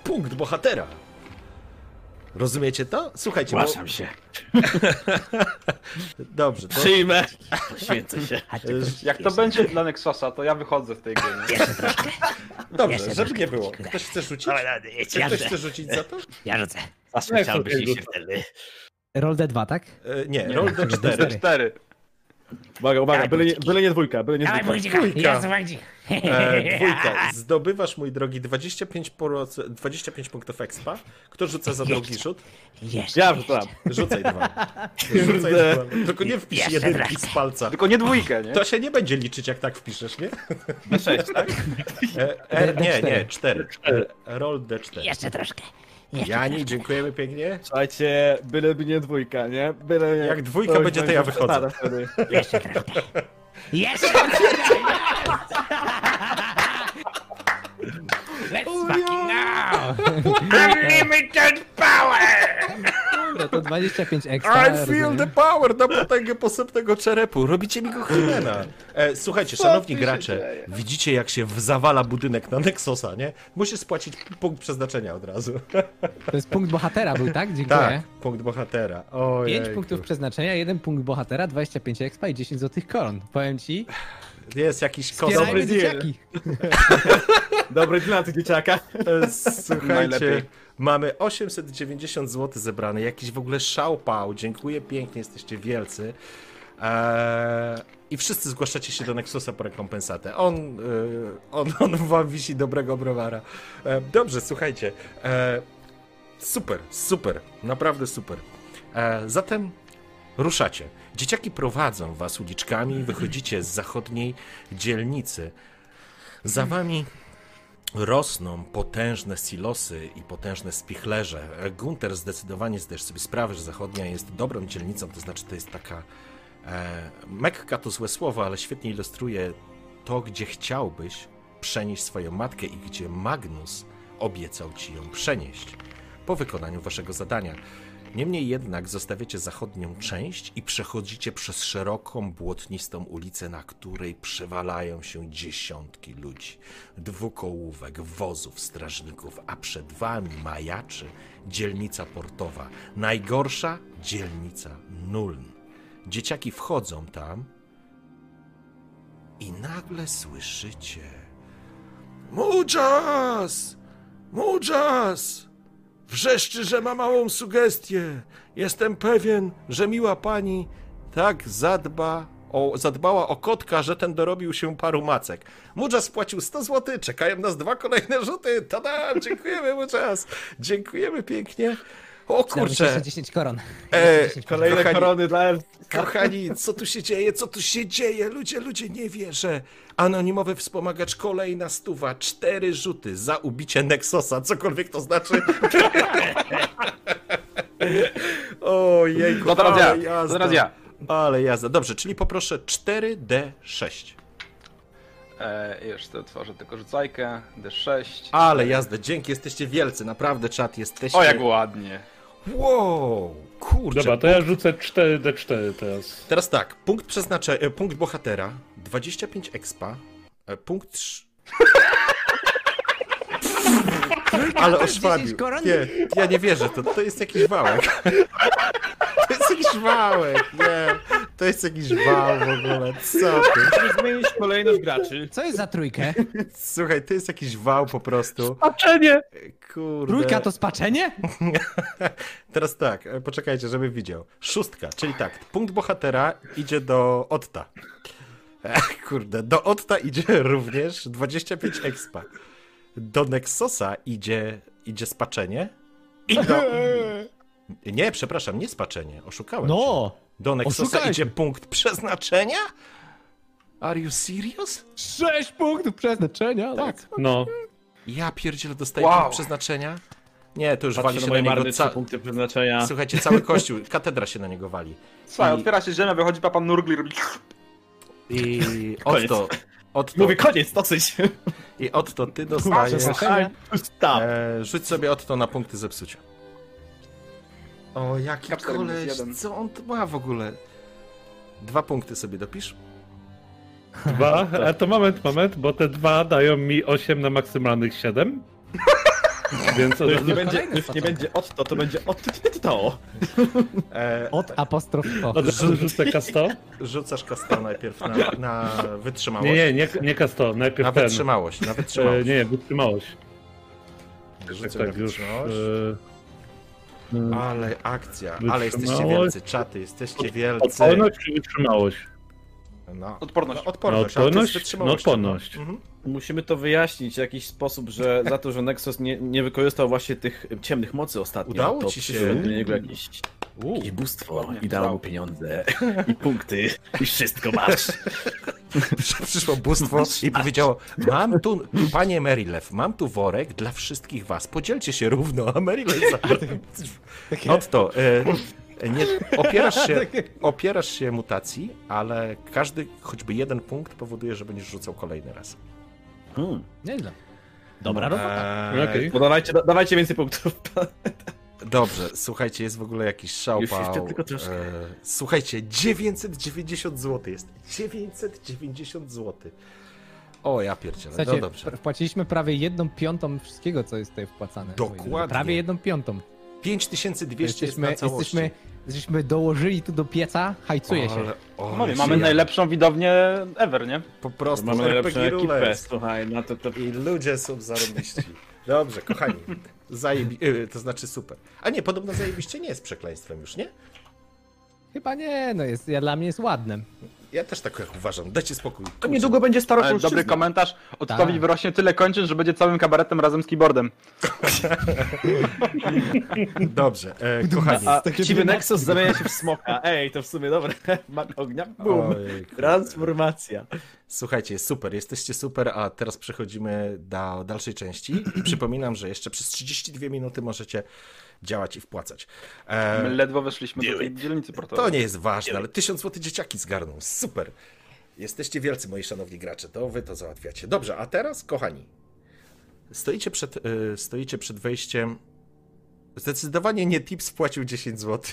Speaker 1: punkt bohatera. Rozumiecie to? Słuchajcie, bo...
Speaker 6: Głaszam się.
Speaker 1: dobrze, to
Speaker 6: Przyjmę. Poświęcę się.
Speaker 4: Jak to będzie dla Nexusa, to ja wychodzę z tej gry. nie?
Speaker 7: Jeszcze troszkę.
Speaker 1: dobrze,
Speaker 7: Jeszcze
Speaker 1: żeby nie
Speaker 7: troszkę
Speaker 1: było.
Speaker 7: punktów.
Speaker 1: Ktoś chce rzucić?
Speaker 7: Dobra, dobra,
Speaker 1: Czy
Speaker 7: ja
Speaker 1: ktoś
Speaker 7: rzucę.
Speaker 1: chce rzucić za to?
Speaker 7: Ja rzucę.
Speaker 5: Zasłyszałbyś jej się
Speaker 6: wtedy.
Speaker 2: Roll D2, tak?
Speaker 1: E, Nie, roll do
Speaker 2: nie,
Speaker 1: 4.
Speaker 4: Cztery.
Speaker 6: Uwaga, uwaga,
Speaker 7: Dawaj,
Speaker 6: byle nie,
Speaker 7: wujciki.
Speaker 6: byle nie dwójka, byle nie
Speaker 7: Dawaj
Speaker 6: dwójka.
Speaker 7: wujcika, ja jestem wujcik.
Speaker 1: E, dwójka. Zdobywasz, mój drogi, 25%, 25 punktów expa. Kto rzuca za drugi rzut?
Speaker 7: Jeszcze,
Speaker 6: Ja rzucam.
Speaker 1: Rzucaj dwa. Rzucaj dwa. Tylko nie wpisz
Speaker 7: Jeszcze
Speaker 1: jedynki
Speaker 7: troszkę.
Speaker 1: z palca.
Speaker 4: Tylko nie dwójkę, nie?
Speaker 1: To się nie będzie liczyć, jak tak wpiszesz, nie?
Speaker 4: sześć, tak?
Speaker 1: E, e, nie,
Speaker 2: D4.
Speaker 1: nie, 4. Roll D4.
Speaker 7: jeszcze troszkę. Jeszcze
Speaker 1: Jani, dziękujemy pięknie.
Speaker 6: Słuchajcie, byleby nie dwójka, nie? Byle nie.
Speaker 1: Jak dwójka będzie, to ja
Speaker 6: będzie
Speaker 1: wychodzę.
Speaker 6: przepada wtedy.
Speaker 7: Jeszcze troszkę. Jeszcze Let's fucking now! Unlimited power!
Speaker 2: Dobra, No to 25 ekstra.
Speaker 1: I feel the power na potęgę posępnego czerepu. Robicie mi go Hymena. E, słuchajcie, szanowni gracze, widzicie jak się zawala budynek na Nexosa, nie? Musisz spłacić punkt przeznaczenia od razu.
Speaker 2: To jest punkt bohatera był, tak? Dziękuję.
Speaker 1: Tak, punkt bohatera. Ojej,
Speaker 2: 5 punktów przeznaczenia, 1 punkt bohatera, 25 expa i 10 złotych koron. Powiem ci,
Speaker 1: Jest jakiś kozak.
Speaker 2: wspierajmy
Speaker 6: deal.
Speaker 2: dzieciaki.
Speaker 6: Dobry dla tych dzieciaka.
Speaker 1: E, Słuchajcie,
Speaker 4: Najlepiej.
Speaker 1: mamy 890 zł zebrane, jakiś w ogóle szałpał. Dziękuję pięknie, jesteście wielcy. Eee, I wszyscy zgłaszacie się do Nexusa po rekompensatę. On, e, on, on wam wisi dobrego browara. E, dobrze, słuchajcie. E, super, super, naprawdę super. E, zatem ruszacie. Dzieciaki prowadzą was uliczkami, wychodzicie z zachodniej dzielnicy. Za wami rosną potężne silosy i potężne spichlerze. Gunter zdecydowanie zdajesz sobie sprawę, że zachodnia jest dobrą dzielnicą, to znaczy to jest taka e, Mekka to złe słowo, ale świetnie ilustruje to, gdzie chciałbyś przenieść swoją matkę i gdzie Magnus obiecał ci ją przenieść po wykonaniu waszego zadania. Niemniej jednak zostawiacie zachodnią część i przechodzicie przez szeroką, błotnistą ulicę, na której przewalają się dziesiątki ludzi. Dwukołówek, wozów, strażników, a przed wami majaczy dzielnica portowa. Najgorsza dzielnica Nuln. Dzieciaki wchodzą tam i nagle słyszycie Muchas! Muchas! Wrzeszczy, że ma małą sugestię. Jestem pewien, że miła pani tak zadba o, zadbała o kotka, że ten dorobił się paru macek. Muchas spłacił 100 zł, czekają nas dwa kolejne rzuty. Tada! Dziękujemy, Muchas! Dziękujemy pięknie. O kurczę!
Speaker 2: 10 koron.
Speaker 1: E,
Speaker 2: 10 koron.
Speaker 1: kolejne
Speaker 3: Kochani-
Speaker 1: korony.
Speaker 3: dla
Speaker 1: Kochani, co tu się dzieje? Co tu się dzieje? Ludzie, ludzie, nie wierzę. Anonimowy wspomagacz, kolejna stuwa, cztery rzuty za ubicie Nexosa, cokolwiek to znaczy. Ojej,
Speaker 4: No teraz ja,
Speaker 1: ale jazda.
Speaker 4: teraz ja.
Speaker 1: Ale jazda. Dobrze, czyli poproszę 4D6.
Speaker 4: E, już to tworzę tylko rzucajkę, D6.
Speaker 1: Ale jazda, dzięki, jesteście wielcy, naprawdę czat, jesteście...
Speaker 4: O, jak ładnie.
Speaker 1: Wow, kurczę.
Speaker 5: Dobra, to ja rzucę 4D4 teraz.
Speaker 1: Teraz tak, punkt przeznaczenia, punkt bohatera, 25 expa, e, punkt... trz- Ale oszwabił.
Speaker 2: 10 koron?
Speaker 1: Nie, ja nie wierzę, to, to jest jakiś wałek. To jest jakiś wałek, nie. To jest jakiś wał w ogóle, co ty?
Speaker 9: Zmienić kolejność graczy.
Speaker 2: Co jest za trójkę?
Speaker 1: Słuchaj, to jest jakiś wał po prostu.
Speaker 5: Patrzenie!
Speaker 1: Kurde.
Speaker 2: Trójka to spaczenie?
Speaker 1: Tak. Teraz tak, e, poczekajcie, żeby widział. Szóstka, czyli tak, punkt bohatera idzie do Otta. Ech, kurde, do Otta idzie również 25 expa. Do Nexosa idzie, idzie spaczenie. I do... Nie, przepraszam, nie spaczenie, oszukałem się.
Speaker 2: No!
Speaker 1: Do Nexosa
Speaker 2: oszukałeś
Speaker 1: idzie
Speaker 2: mnie.
Speaker 1: punkt przeznaczenia? Are you serious?
Speaker 2: 6 punktów przeznaczenia! Tak.
Speaker 5: No,
Speaker 1: Ja pierdzielę, dostaję
Speaker 4: Wow.
Speaker 1: punkt przeznaczenia? Nie, to już
Speaker 3: Patrzę
Speaker 1: wali
Speaker 3: na
Speaker 1: się na,
Speaker 3: moje marne
Speaker 1: niego
Speaker 3: trzy
Speaker 1: ca...
Speaker 3: punkty przeznaczenia.
Speaker 1: Słuchajcie, cały kościół, katedra się na niego wali.
Speaker 4: Słuchaj, otwiera się ziemia, wychodzi papa Nurgli, robi...
Speaker 1: I
Speaker 3: Koniec.
Speaker 1: Otto, Otto,
Speaker 3: Mówię, koniec, dosyć.
Speaker 1: i Otto, ty dostajesz.
Speaker 2: Przeznaczenia.
Speaker 3: Stop.
Speaker 1: E, rzuć sobie Otto na punkty zepsucia. O, jaki
Speaker 4: Kapsel minus
Speaker 1: koleś,
Speaker 4: jeden.
Speaker 1: co on tu ma w ogóle? Dwa punkty sobie dopisz.
Speaker 3: tak.
Speaker 5: dwa. A to moment, moment, bo te dwa dają mi 8 na maksymalnych 7. Więc od
Speaker 3: To już
Speaker 5: razu...
Speaker 3: nie będzie, to już nie
Speaker 2: spacerka.
Speaker 3: będzie od to, to będzie od to, to, to.
Speaker 1: E,
Speaker 2: Od apostrof po.
Speaker 5: Od razu rzucę K100?
Speaker 1: rzucasz kasto najpierw na, na wytrzymałość.
Speaker 5: Nie, nie, nie, nie K100, najpierw
Speaker 1: na
Speaker 5: ten.
Speaker 1: wytrzymałość, na
Speaker 5: E,
Speaker 1: wytrzymałość.
Speaker 5: nie, wytrzymałość. Tak,
Speaker 1: Rzucę
Speaker 5: tak,
Speaker 1: na
Speaker 5: już.
Speaker 1: wytrzymałość.
Speaker 5: e, e,
Speaker 1: Ale akcja, ale jesteście
Speaker 5: Wytrzymałość.
Speaker 1: wielcy, czaty, jesteście wielcy.
Speaker 5: Odporność czy wytrzymałość?
Speaker 1: No,
Speaker 4: Odporność.
Speaker 1: odporność,
Speaker 5: No,
Speaker 1: ale to jest
Speaker 5: odporność?
Speaker 1: wytrzymałość.
Speaker 5: No, odporność.
Speaker 1: Mhm.
Speaker 3: Musimy to wyjaśnić w jakiś sposób, że za to, że Nexus nie, nie wykorzystał właśnie tych ciemnych mocy ostatnio,
Speaker 1: Udało
Speaker 3: to
Speaker 1: ci się.
Speaker 3: przyszło do niego jakieś, jakieś bóstwo i dało mu pieniądze i punkty i wszystko masz.
Speaker 1: Przyszło bóstwo i powiedziało: Mam tu, panie Merilew, mam tu worek dla wszystkich was. Podzielcie się równo, a Merilew za. Otto, e, nie, opierasz, się, opierasz się mutacji, ale każdy, choćby jeden punkt, powoduje, że będziesz rzucał kolejny raz.
Speaker 3: Hmm.
Speaker 2: Nieźle.
Speaker 3: Dobra robota.
Speaker 1: Eee,
Speaker 5: Okej.
Speaker 3: Bo dawajcie, da, dawajcie więcej punktów.
Speaker 1: Dobrze, słuchajcie, jest w ogóle jakiś
Speaker 3: Już jeszcze
Speaker 1: szałpał.
Speaker 3: tylko troszkę.
Speaker 1: E, słuchajcie, 990 zł jest. 990 zł. O, ja pierdzielę,
Speaker 2: Słuchajcie,
Speaker 1: no dobrze.
Speaker 2: pr- wpłaciliśmy prawie jedną piątą wszystkiego, co jest tutaj wpłacane. moi drodzy.
Speaker 1: Dokładnie.
Speaker 2: Prawie jedną piątą.
Speaker 1: 5200 jest
Speaker 2: Jesteśmy,
Speaker 1: na całości.
Speaker 2: jesteśmy, jesteśmy dołożyli tu do pieca, hajcuje się.
Speaker 1: Ale- o,
Speaker 4: Panowie,
Speaker 1: ja-
Speaker 4: mamy najlepszą widownię ever, nie?
Speaker 1: Po prostu
Speaker 3: Mamy najlepszą
Speaker 1: RPG
Speaker 3: ekipę,
Speaker 1: Roulette.
Speaker 3: słuchaj, na to, to...
Speaker 1: I ludzie są zarobiści. Dobrze, kochani. Zajebi... y, To znaczy super. A nie, podobno zajebiście nie jest przekleństwem już, nie?
Speaker 2: Chyba nie, no jest, ja, dla mnie jest ładne.
Speaker 1: Ja też tak uważam. Dajcie spokój.
Speaker 3: To niedługo będzie stara
Speaker 4: Ale E, dobry komentarz. Odtowi
Speaker 2: Tak.
Speaker 4: wyrośnie tyle kończyn, że będzie całym kabaretem razem z keyboardem.
Speaker 1: Dobrze, e, kochani.
Speaker 3: A chciwy Nexus zamienia się w smoka. Ej, to w sumie dobre. Mak ognia, bum.
Speaker 1: Ojej, kurde.
Speaker 3: Transformacja.
Speaker 1: Słuchajcie, super, jesteście super, a teraz przechodzimy do dalszej części. I przypominam, że jeszcze przez 32 minuty możecie działać i wpłacać.
Speaker 4: My
Speaker 1: E,
Speaker 4: ledwo weszliśmy do tej dzielnicy
Speaker 1: To
Speaker 4: portowej.
Speaker 1: nie jest ważne, ale 1000 zł dzieciaki zgarną. Super. Jesteście wielcy, moi szanowni gracze, to wy to załatwiacie. Dobrze, a teraz, kochani, stoicie przed, y, stoicie przed wejściem. Zdecydowanie nie Tips wpłacił 10 zł.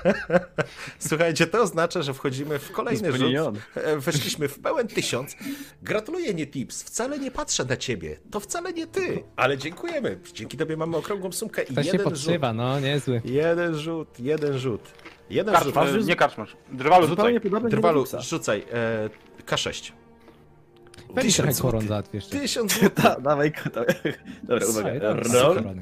Speaker 1: Słuchajcie, to oznacza, że wchodzimy w kolejny rzut.
Speaker 3: Spełniony.
Speaker 1: E, Weszliśmy w pełen tysiąc. Gratuluję, nie Tips. Wcale nie patrzę na ciebie. To wcale nie ty, ale dziękujemy. Dzięki tobie mamy okrągłą sumkę i
Speaker 2: Ktoś się
Speaker 1: jeden rzut.
Speaker 2: podszywa, no niezły.
Speaker 1: Jeden rzut, jeden rzut. Jeden rzut.
Speaker 4: Karczmasz, nie karczmasz. Drwalu
Speaker 6: Zupełnie
Speaker 4: rzucaj.
Speaker 6: podobne do
Speaker 1: Drwalu,
Speaker 6: Luxa.
Speaker 1: rzucaj. E, K6.
Speaker 2: Weź trochę
Speaker 6: złotych.
Speaker 2: koron załatwisz.
Speaker 1: Tysiąc zł.
Speaker 6: Ta, dawaj, dawaj. Dobra, uwaga. Roll.
Speaker 2: Tak,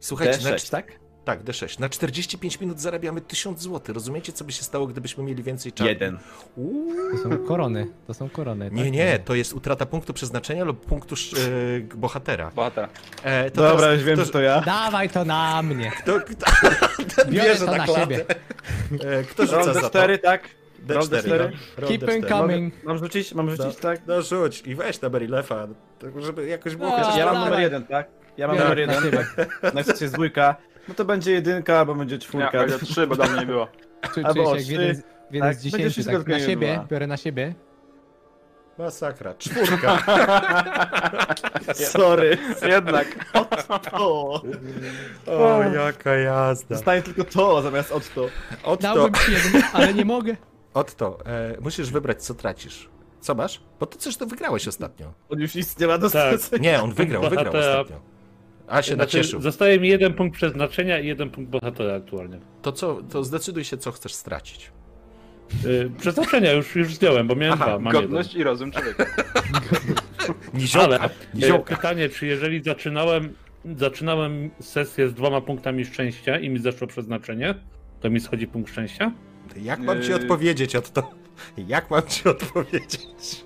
Speaker 1: Słuchajcie, na,
Speaker 6: D6, tak?
Speaker 1: tak, D6. Na 45 minut zarabiamy 1000 zł. Rozumiecie, co by się stało, gdybyśmy mieli więcej czasu?
Speaker 3: Jeden.
Speaker 1: Uuu.
Speaker 2: To są korony, to są korony.
Speaker 1: Nie,
Speaker 2: tak?
Speaker 1: nie, to jest utrata punktu przeznaczenia lub punktu sz- e, bohatera.
Speaker 4: Bohatera.
Speaker 1: E, to
Speaker 6: Dobra,
Speaker 1: teraz,
Speaker 6: już wiem,
Speaker 1: kto,
Speaker 6: że to ja.
Speaker 2: Dawaj to na mnie.
Speaker 1: Kto, kto, ten
Speaker 2: Biorę
Speaker 1: bierze
Speaker 2: to
Speaker 1: na
Speaker 2: na
Speaker 1: klatę.
Speaker 2: siebie.
Speaker 1: E, kto rzuca
Speaker 3: Roll
Speaker 1: za to?
Speaker 3: D4, tak?
Speaker 1: D4,
Speaker 3: Roll D4.
Speaker 1: no. Roll
Speaker 2: Keep
Speaker 1: D4.
Speaker 2: and coming.
Speaker 3: Mam rzucić, mam rzucić, tak?
Speaker 1: No rzuć i weź na Berilefa, tak żeby jakoś było
Speaker 2: No.
Speaker 1: chociaż...
Speaker 3: Ja mam
Speaker 2: dawaj.
Speaker 3: numer jeden, tak? Ja mam
Speaker 2: Biorę
Speaker 3: numer
Speaker 2: na
Speaker 3: jeden.
Speaker 2: siebie.
Speaker 3: Na jest jest dwójka. No to będzie jedynka, albo będzie
Speaker 4: Nie,
Speaker 3: czwórka.
Speaker 4: będzie trzy, bo dawno nie było.
Speaker 2: Czy,
Speaker 3: Albo
Speaker 2: czujesz
Speaker 3: o
Speaker 2: jak w jeden, z- w jeden
Speaker 3: tak,
Speaker 2: z
Speaker 3: będzie
Speaker 2: dziesięciu,
Speaker 3: wszystko
Speaker 2: tak na
Speaker 3: zgodnie
Speaker 2: siebie,
Speaker 3: dwa.
Speaker 2: biorę na siebie.
Speaker 1: Masakra, czwórka.
Speaker 3: Sorry.
Speaker 4: Jednak.
Speaker 3: O,
Speaker 1: O, jaka jazda.
Speaker 3: zostanie tylko to zamiast od to.
Speaker 1: Otto,
Speaker 2: Dałbym ci jeden, ale nie mogę.
Speaker 1: Otto e, musisz wybrać co tracisz. Co masz? Bo ty coś to wygrałeś ostatnio.
Speaker 3: On już nic nie ma do
Speaker 5: Tak.
Speaker 3: stracenia.
Speaker 1: Nie, on wygrał, wygrał
Speaker 5: Bohatera.
Speaker 1: ostatnio. A się
Speaker 5: Znaczy,
Speaker 1: nacieszył.
Speaker 5: Zostaje mi jeden punkt przeznaczenia i jeden punkt bohatera aktualnie.
Speaker 1: To co, to zdecyduj się co chcesz stracić.
Speaker 5: Y, przeznaczenia już, już zdjąłem, bo miałem
Speaker 1: Aha,
Speaker 5: dwa. Mam
Speaker 4: Godność i rozum człowieka.
Speaker 5: jeden.
Speaker 1: Niziołka,
Speaker 5: Ale y,
Speaker 1: niziołka.
Speaker 5: pytanie, czy jeżeli zaczynałem, zaczynałem sesję z dwoma punktami szczęścia i mi zeszło przeznaczenie, to mi schodzi punkt szczęścia?
Speaker 1: Jak mam ci
Speaker 4: Yy.
Speaker 1: odpowiedzieć, Otto? Jak mam ci odpowiedzieć?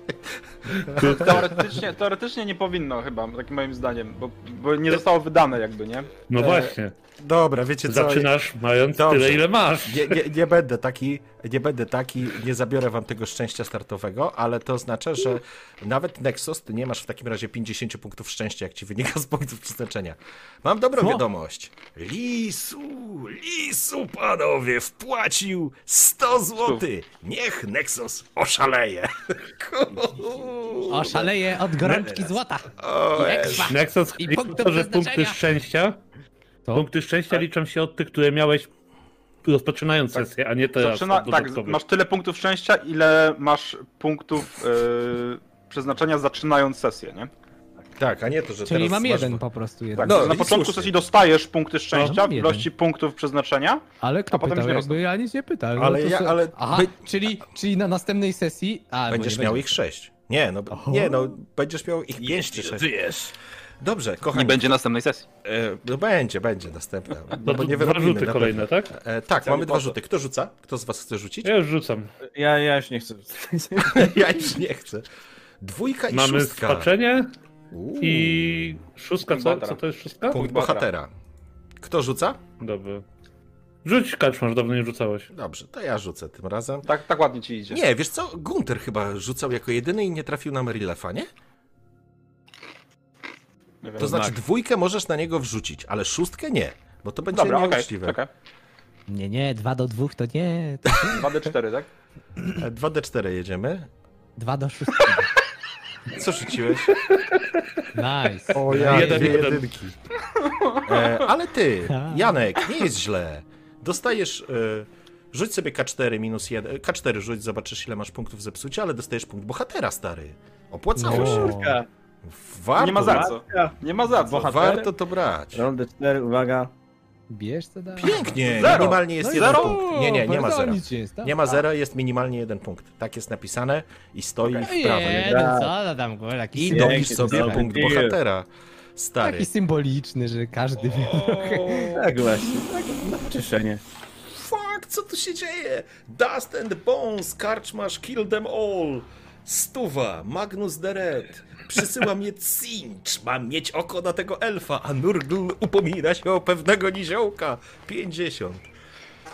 Speaker 4: Teoretycznie, teoretycznie nie powinno chyba, takim moim zdaniem, bo, bo nie zostało wydane jakby, nie?
Speaker 5: No
Speaker 1: E,
Speaker 5: właśnie.
Speaker 1: Dobra, wiecie co?
Speaker 5: Zaczynasz mając
Speaker 1: Dobrze.
Speaker 5: tyle, ile masz.
Speaker 1: Nie, nie, nie będę taki, nie będę taki, nie zabiorę wam tego szczęścia startowego, ale to oznacza, że nawet Nexus, ty nie masz w takim razie 50 punktów szczęścia, jak ci wynika z punktów przeznaczenia. Mam dobrą wiadomość. Lisu, lisu, panowie, wpłacił 100 złotych. Niech Nexus oszaleje. Kurde.
Speaker 2: Oszaleję od gorączki złota.
Speaker 1: O,
Speaker 2: Ekstra.
Speaker 5: Nexus,
Speaker 2: I
Speaker 5: liczy
Speaker 2: punktu
Speaker 5: to, że
Speaker 2: przeznaczenia.
Speaker 5: punkty szczęścia.
Speaker 2: To?
Speaker 5: Punkty
Speaker 1: Tak.
Speaker 5: szczęścia liczą się od tych, które miałeś rozpoczynając sesję, a nie teraz.
Speaker 4: Zaczyna,
Speaker 5: od
Speaker 4: tak,
Speaker 5: dodatkowych.
Speaker 4: masz tyle punktów szczęścia, ile masz punktów yy, przeznaczenia zaczynając sesję, nie?
Speaker 1: tak, a nie to, że
Speaker 2: Czyli
Speaker 1: teraz
Speaker 2: mam
Speaker 1: masz-
Speaker 2: jeden po prostu jeden.
Speaker 4: Tak,
Speaker 1: No,
Speaker 4: no, na
Speaker 1: i
Speaker 4: początku
Speaker 1: słusznie.
Speaker 4: sesji dostajesz punkty szczęścia
Speaker 2: mam
Speaker 4: w
Speaker 2: jeden.
Speaker 4: ilości punktów przeznaczenia.
Speaker 2: Ale kto
Speaker 4: A potem
Speaker 2: pytał?
Speaker 4: się rozumie.
Speaker 2: Jakby ja nic nie pytałem. No
Speaker 1: Ale
Speaker 2: to
Speaker 1: ja-
Speaker 2: se-
Speaker 1: ale
Speaker 2: Aha,
Speaker 1: by-
Speaker 2: czyli, czyli na następnej sesji... A, bo
Speaker 1: Będziesz
Speaker 2: nie
Speaker 1: miał
Speaker 2: będzie.
Speaker 1: ich sześć. Nie, no, nie, no, będziesz miał ich pięć czy sześć.
Speaker 3: Żyjesz.
Speaker 1: Dobrze,
Speaker 4: Nie
Speaker 1: kochani.
Speaker 4: będzie następnej sesji.
Speaker 1: E, no będzie, będzie następna. No bo
Speaker 5: No to
Speaker 1: nie
Speaker 5: dwa
Speaker 1: wyrobimy.
Speaker 5: rzuty
Speaker 1: na
Speaker 5: kolejne, tak?
Speaker 1: pewno. E, tak, mamy dwa
Speaker 3: po to.
Speaker 1: rzuty. Kto rzuca? Kto z was chce rzucić?
Speaker 5: Ja już rzucam.
Speaker 3: Ja, ja już nie chcę.
Speaker 1: ja już nie chcę. Dwójka i
Speaker 5: Mamy
Speaker 1: szóstka. Hmm.
Speaker 5: spaczenie
Speaker 1: Uuu,
Speaker 5: i szóstka, co,
Speaker 4: Bohatera.
Speaker 5: co to jest szóstka?
Speaker 1: Punkt
Speaker 4: Bohatera.
Speaker 1: bohatera. Kto rzuca?
Speaker 5: Dobra. Rzuć kaczmarz, dawno nie rzucałeś.
Speaker 1: Dobrze, to ja rzucę tym razem.
Speaker 4: Tak, tak ładnie ci idzie.
Speaker 1: Nie, wiesz co? Gunter chyba rzucał jako jedyny i nie trafił na Merilefa, nie?
Speaker 4: nie wiem.
Speaker 1: To znaczy dwójkę możesz na niego wrzucić, ale szóstkę nie, bo to będzie
Speaker 4: No. Dobra, okej,
Speaker 1: nieuczciwe.
Speaker 4: czekaj.
Speaker 2: Nie, nie, dwa do dwóch to nie. To
Speaker 4: 2D4, tak?
Speaker 1: E, 2D4 jedziemy.
Speaker 2: dwa do szóstki.
Speaker 1: Co rzuciłeś?
Speaker 2: Nice.
Speaker 1: O ja,
Speaker 5: Jeden,
Speaker 1: dwie
Speaker 5: jeden.
Speaker 1: jedynki. E, ale ty, Janek, nie jest źle. Dostajesz, e, rzuć sobie K4 minus 1, K4 rzuć, zobaczysz ile masz punktów zepsucia, ale dostajesz punkt bohatera, stary. Opłacało
Speaker 6: No.
Speaker 1: się.
Speaker 3: Czwórka.
Speaker 1: Warto,
Speaker 4: Nie ma za co. Nie ma za co.
Speaker 3: Bohater.
Speaker 1: warto to brać.
Speaker 6: No.
Speaker 3: Roll D4, uwaga.
Speaker 2: Bierz co da.
Speaker 1: Pięknie,
Speaker 4: Zero.
Speaker 1: minimalnie jest
Speaker 2: No i
Speaker 1: jeden
Speaker 4: zero.
Speaker 1: punkt. Nie, nie, nie ma
Speaker 2: bardzo
Speaker 1: zera.
Speaker 2: Nic tak. się nie stało.
Speaker 1: Nie ma zera, jest minimalnie jeden punkt. Tak jest napisane i stoi w prawej.
Speaker 2: Nie, no co to tam, kurwa, taki,
Speaker 1: I
Speaker 2: sym-
Speaker 1: dobisz sobie
Speaker 3: Pięknie.
Speaker 1: punkt bohatera, stary.
Speaker 2: taki symboliczny, że każdy wie.
Speaker 3: Tak właśnie, tak na cieszenie.
Speaker 1: Fuck, co tu się dzieje? Dust and Bones, karczmasz, kill them all. Stuwa, Magnus the Red. Przysyła mnie cinch, mam mieć oko na tego elfa, a Nurgl upomina się o pewnego niziołka. 50.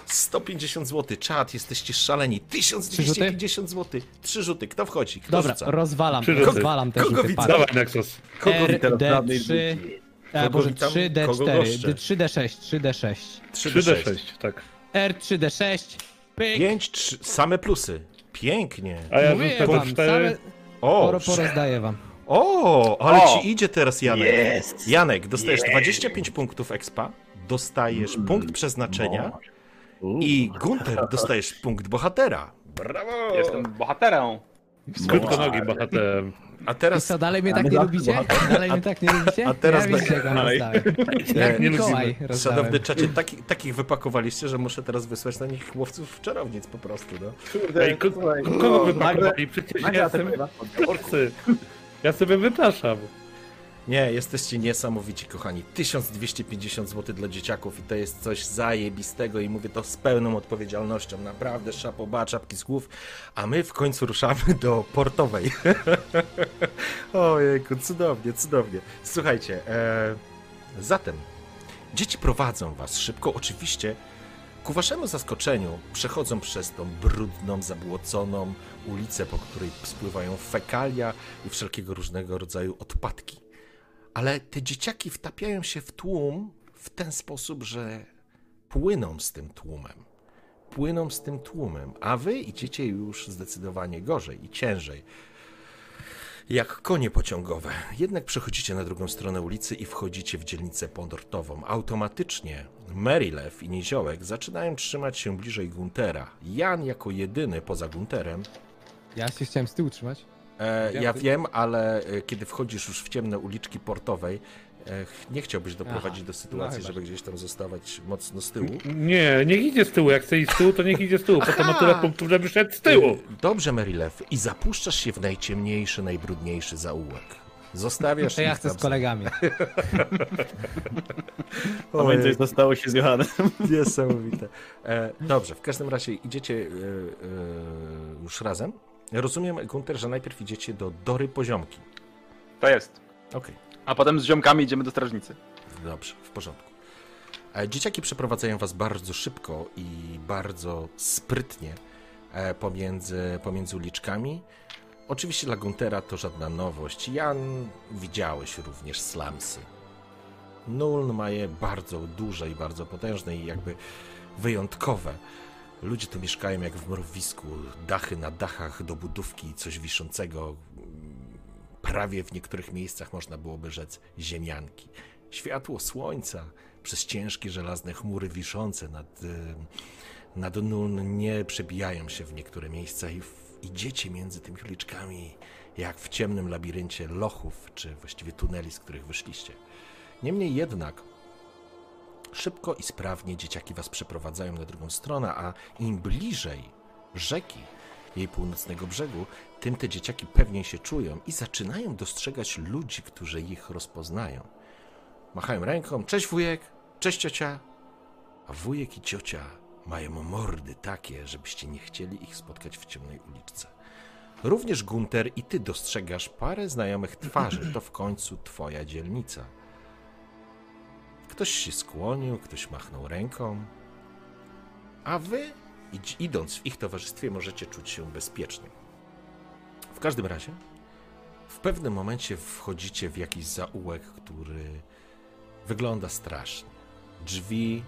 Speaker 1: 150 zł, czat, jesteście szaleni. 1250 zł. Trzy rzuty, kto wchodzi? Kto
Speaker 2: Dobra,
Speaker 1: rzuca?
Speaker 2: rozwalam,
Speaker 5: Przerzuty.
Speaker 2: rozwalam te
Speaker 1: Kogo
Speaker 2: rzuty.
Speaker 1: widzę?
Speaker 2: patrz.
Speaker 5: Dawaj, Nexus.
Speaker 2: RD3,
Speaker 1: Kogo
Speaker 2: e, Boże,
Speaker 1: witam?
Speaker 2: 3D4,
Speaker 1: Kogo goszczę?
Speaker 2: 3D6, 3D6.
Speaker 5: 3 d 6 tak.
Speaker 2: R3D6, pyk,
Speaker 1: 5, 3, same plusy. Pięknie.
Speaker 5: A ja
Speaker 2: mówię
Speaker 5: rzucę
Speaker 2: wam,
Speaker 5: D4.
Speaker 2: same,
Speaker 1: O,
Speaker 2: poro, porozdaję wam.
Speaker 1: O, ale
Speaker 4: O!
Speaker 1: ci idzie teraz Janek. Janek, dostajesz 25 punktów expa, dostajesz punkt przeznaczenia i Gunter, dostajesz punkt bohatera. Brawo!
Speaker 4: Jestem bohaterem.
Speaker 5: Krótkonogi bohaterem.
Speaker 1: A
Speaker 2: I
Speaker 1: teraz
Speaker 2: co, dalej mnie tak nie
Speaker 6: Dobra.
Speaker 2: lubicie? Dalej mnie tak nie lubicie?
Speaker 1: a teraz
Speaker 2: ja widzicie, jak wam rozdałem. Jak
Speaker 1: nie
Speaker 2: Mikołaj rozdałem.
Speaker 1: Szanowny czacie, taki, takich wypakowaliście, że muszę teraz wysłać na nich łowców w czarownic po prostu, no.
Speaker 5: Ej, ko- kogo wypakowali? Przecież ja sobie wypraszam. Ja sobie wypraszam.
Speaker 1: Nie, jesteście niesamowici, kochani. 1250 zł dla dzieciaków i to jest coś zajebistego i mówię to z pełną odpowiedzialnością. Naprawdę, szapoba, czapki z głów. A my w końcu ruszamy do portowej. Ojejku, cudownie, cudownie. Słuchajcie, e, zatem dzieci prowadzą was szybko, oczywiście. Ku waszemu zaskoczeniu przechodzą przez tą brudną, zabłoconą ulicę, po której spływają fekalia i wszelkiego różnego rodzaju odpadki. Ale te dzieciaki wtapiają się w tłum w ten sposób, że płyną z tym tłumem. Płyną z tym tłumem, a wy idziecie już zdecydowanie gorzej i ciężej. Jak konie pociągowe. Jednak przechodzicie na drugą stronę ulicy i wchodzicie w dzielnicę podortową. Automatycznie Marylew i Niziołek zaczynają trzymać się bliżej Guntera. Jan jako jedyny poza Gunterem
Speaker 2: Ja się chciałem z tyłu trzymać.
Speaker 1: E, ja
Speaker 2: Ja-
Speaker 1: wiem, ale e, kiedy wchodzisz już w ciemne uliczki portowej, e, ch- nie chciałbyś doprowadzić
Speaker 2: Aha,
Speaker 1: do sytuacji,
Speaker 2: no chyba.
Speaker 1: żeby gdzieś tam zostawać mocno z tyłu.
Speaker 5: Nie, niech idzie z tyłu. Jak chce iść z tyłu, to niech idzie z tyłu. Potem ma tyle punktów, żeby szedł z tyłu.
Speaker 1: E, Dobrze, Merilew, i zapuszczasz się w najciemniejszy, najbrudniejszy zaułek. Zostawiasz
Speaker 2: To ja
Speaker 1: ich
Speaker 2: chcę
Speaker 1: tam
Speaker 2: z kolegami.
Speaker 6: Pamiętaj, zostało się z Johanem.
Speaker 1: Niesamowite. E, dobrze, w każdym razie idziecie e, e, już razem. Rozumiem, Gunter, że najpierw idziecie do Dory Poziomki.
Speaker 4: To jest.
Speaker 1: Okej.
Speaker 4: A potem z ziomkami idziemy do strażnicy.
Speaker 1: Dobrze, w porządku. E, Dzieciaki przeprowadzają was bardzo szybko i bardzo sprytnie e, pomiędzy, pomiędzy uliczkami. Oczywiście dla Guntera to żadna nowość. Jan, widziałeś również slamsy. Nuln ma je bardzo duże i bardzo potężne i jakby wyjątkowe. Ludzie tu mieszkają jak w mrowisku, dachy na dachach, do budówki, coś wiszącego. Prawie w niektórych miejscach można byłoby rzec ziemianki. Światło słońca przez ciężkie żelazne chmury wiszące nad, y, nad nun nie przebijają się w niektóre miejsca i w, idziecie między tymi uliczkami jak w ciemnym labiryncie lochów, czy właściwie tuneli, z których wyszliście. Niemniej jednak szybko i sprawnie dzieciaki was przeprowadzają na drugą stronę, a im bliżej rzeki, jej północnego brzegu, tym te dzieciaki pewniej się czują i zaczynają dostrzegać ludzi, którzy ich rozpoznają. Machają ręką, cześć wujek, cześć ciocia. A wujek i ciocia mają mordy takie, żebyście nie chcieli ich spotkać w ciemnej uliczce. Również Gunter i ty dostrzegasz parę znajomych twarzy, to w końcu twoja dzielnica. Ktoś się skłonił, ktoś machnął ręką, a wy, idź- idąc w ich towarzystwie, możecie czuć się bezpiecznie. W każdym razie, w pewnym momencie wchodzicie w jakiś zaułek, który wygląda strasznie. Drzwi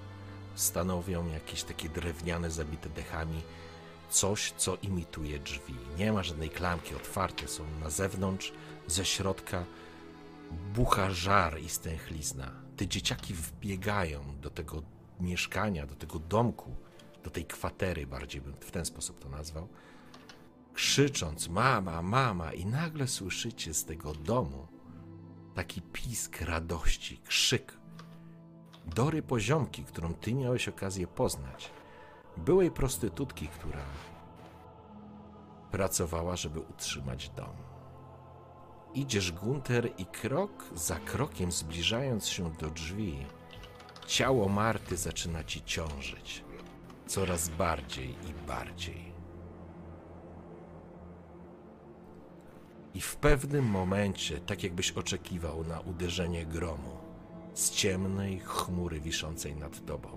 Speaker 1: stanowią jakieś takie drewniane, zabite dechami, coś, co imituje drzwi. Nie ma żadnej klamki, otwarte są na zewnątrz, ze środka bucha żar i stęchlizna. Te dzieciaki wbiegają do tego mieszkania, do tego domku, do tej kwatery bardziej bym w ten sposób to nazwał krzycząc mama, mama i nagle słyszycie z tego domu taki pisk radości, krzyk. Dory Poziomki, którą ty miałeś okazję poznać, byłej prostytutki, która pracowała, żeby utrzymać dom. Idziesz Gunter i krok za krokiem zbliżając się do drzwi, ciało Marty zaczyna ci ciążyć. Coraz bardziej i bardziej. I w pewnym momencie, tak jakbyś oczekiwał na uderzenie gromu, z ciemnej chmury wiszącej nad tobą,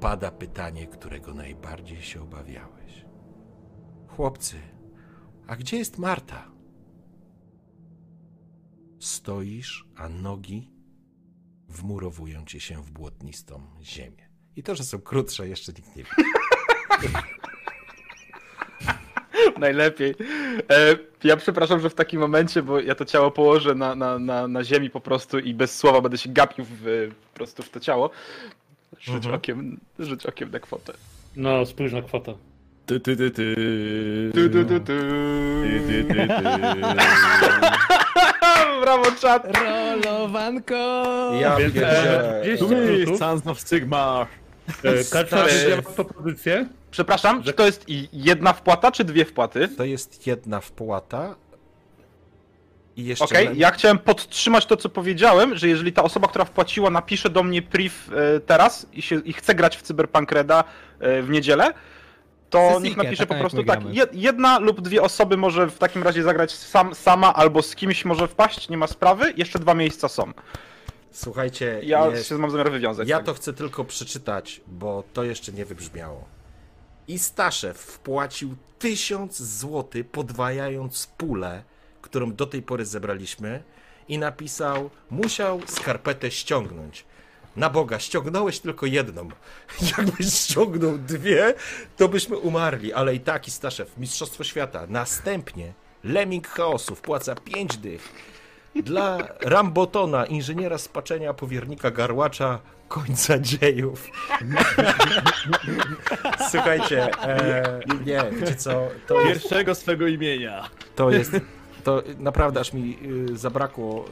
Speaker 1: pada pytanie, którego najbardziej się obawiałeś. Chłopcy, a gdzie jest Marta? Stoisz, a nogi wmurowują ci się w błotnistą ziemię. I to, że są krótsze, jeszcze nikt nie wie.
Speaker 4: Najlepiej. E, ja przepraszam, że w takim momencie, bo ja to ciało położę na, na, na, na ziemi po prostu i bez słowa będę się gapił w, e, po prostu Mhm. w to ciało. Rzuć okiem, rzuć okiem na kwotę.
Speaker 5: No, spójrz na kwotę.
Speaker 6: Ty, ty, ty, ty.
Speaker 4: Tu, tu, tu, tu.
Speaker 6: Ty, ty, ty,
Speaker 4: Brawo, czat!
Speaker 2: No, Rolowanko!
Speaker 1: Ja
Speaker 5: Więc, e,
Speaker 1: pierdzielę.
Speaker 5: 200
Speaker 6: ty.
Speaker 5: minutów.
Speaker 6: Eee, Sons of Sigma.
Speaker 5: E, Kaczmar,
Speaker 4: Stary.
Speaker 5: ja mam propozycję.
Speaker 4: Przepraszam, czy to jest i- jedna wpłata, czy dwie wpłaty?
Speaker 1: To jest jedna wpłata. I jeszcze.
Speaker 4: Okej,
Speaker 1: na-
Speaker 4: ja chciałem podtrzymać to, co powiedziałem, że jeżeli ta osoba, która wpłaciła, napisze do mnie priv e, teraz i, się, i chce grać w Cyberpunk Reda e, w niedzielę, to
Speaker 2: Sesyjkę,
Speaker 4: niech napisze
Speaker 2: taką,
Speaker 4: po
Speaker 2: jak
Speaker 4: prostu
Speaker 2: my
Speaker 4: tak.
Speaker 2: gramy.
Speaker 4: jed- Jedna lub dwie osoby może w takim razie zagrać sam, sama albo z kimś może wpaść, nie ma sprawy. Jeszcze dwa miejsca są.
Speaker 1: Słuchajcie,
Speaker 4: Ja
Speaker 1: jest-
Speaker 4: się mam zamiar wywiązać.
Speaker 1: Ja
Speaker 4: tak.
Speaker 1: to chcę tylko przeczytać, bo to jeszcze nie wybrzmiało. I Staszew wpłacił 1000 zł, podwajając pulę, którą do tej pory zebraliśmy, i napisał: Musiał skarpetę ściągnąć. Na Boga, ściągnąłeś tylko jedną. Jakbyś ściągnął dwie, to byśmy umarli, ale i tak i Staszew, Mistrzostwo Świata. Następnie Lemming Chaosu wpłaca 5 dych. Dla Rambotona, inżyniera spaczenia, powiernika garłacza, końca dziejów. Słuchajcie, e, nie, wiecie co, to jest,
Speaker 6: Pierwszego swego imienia.
Speaker 1: to jest, to naprawdę aż mi y, zabrakło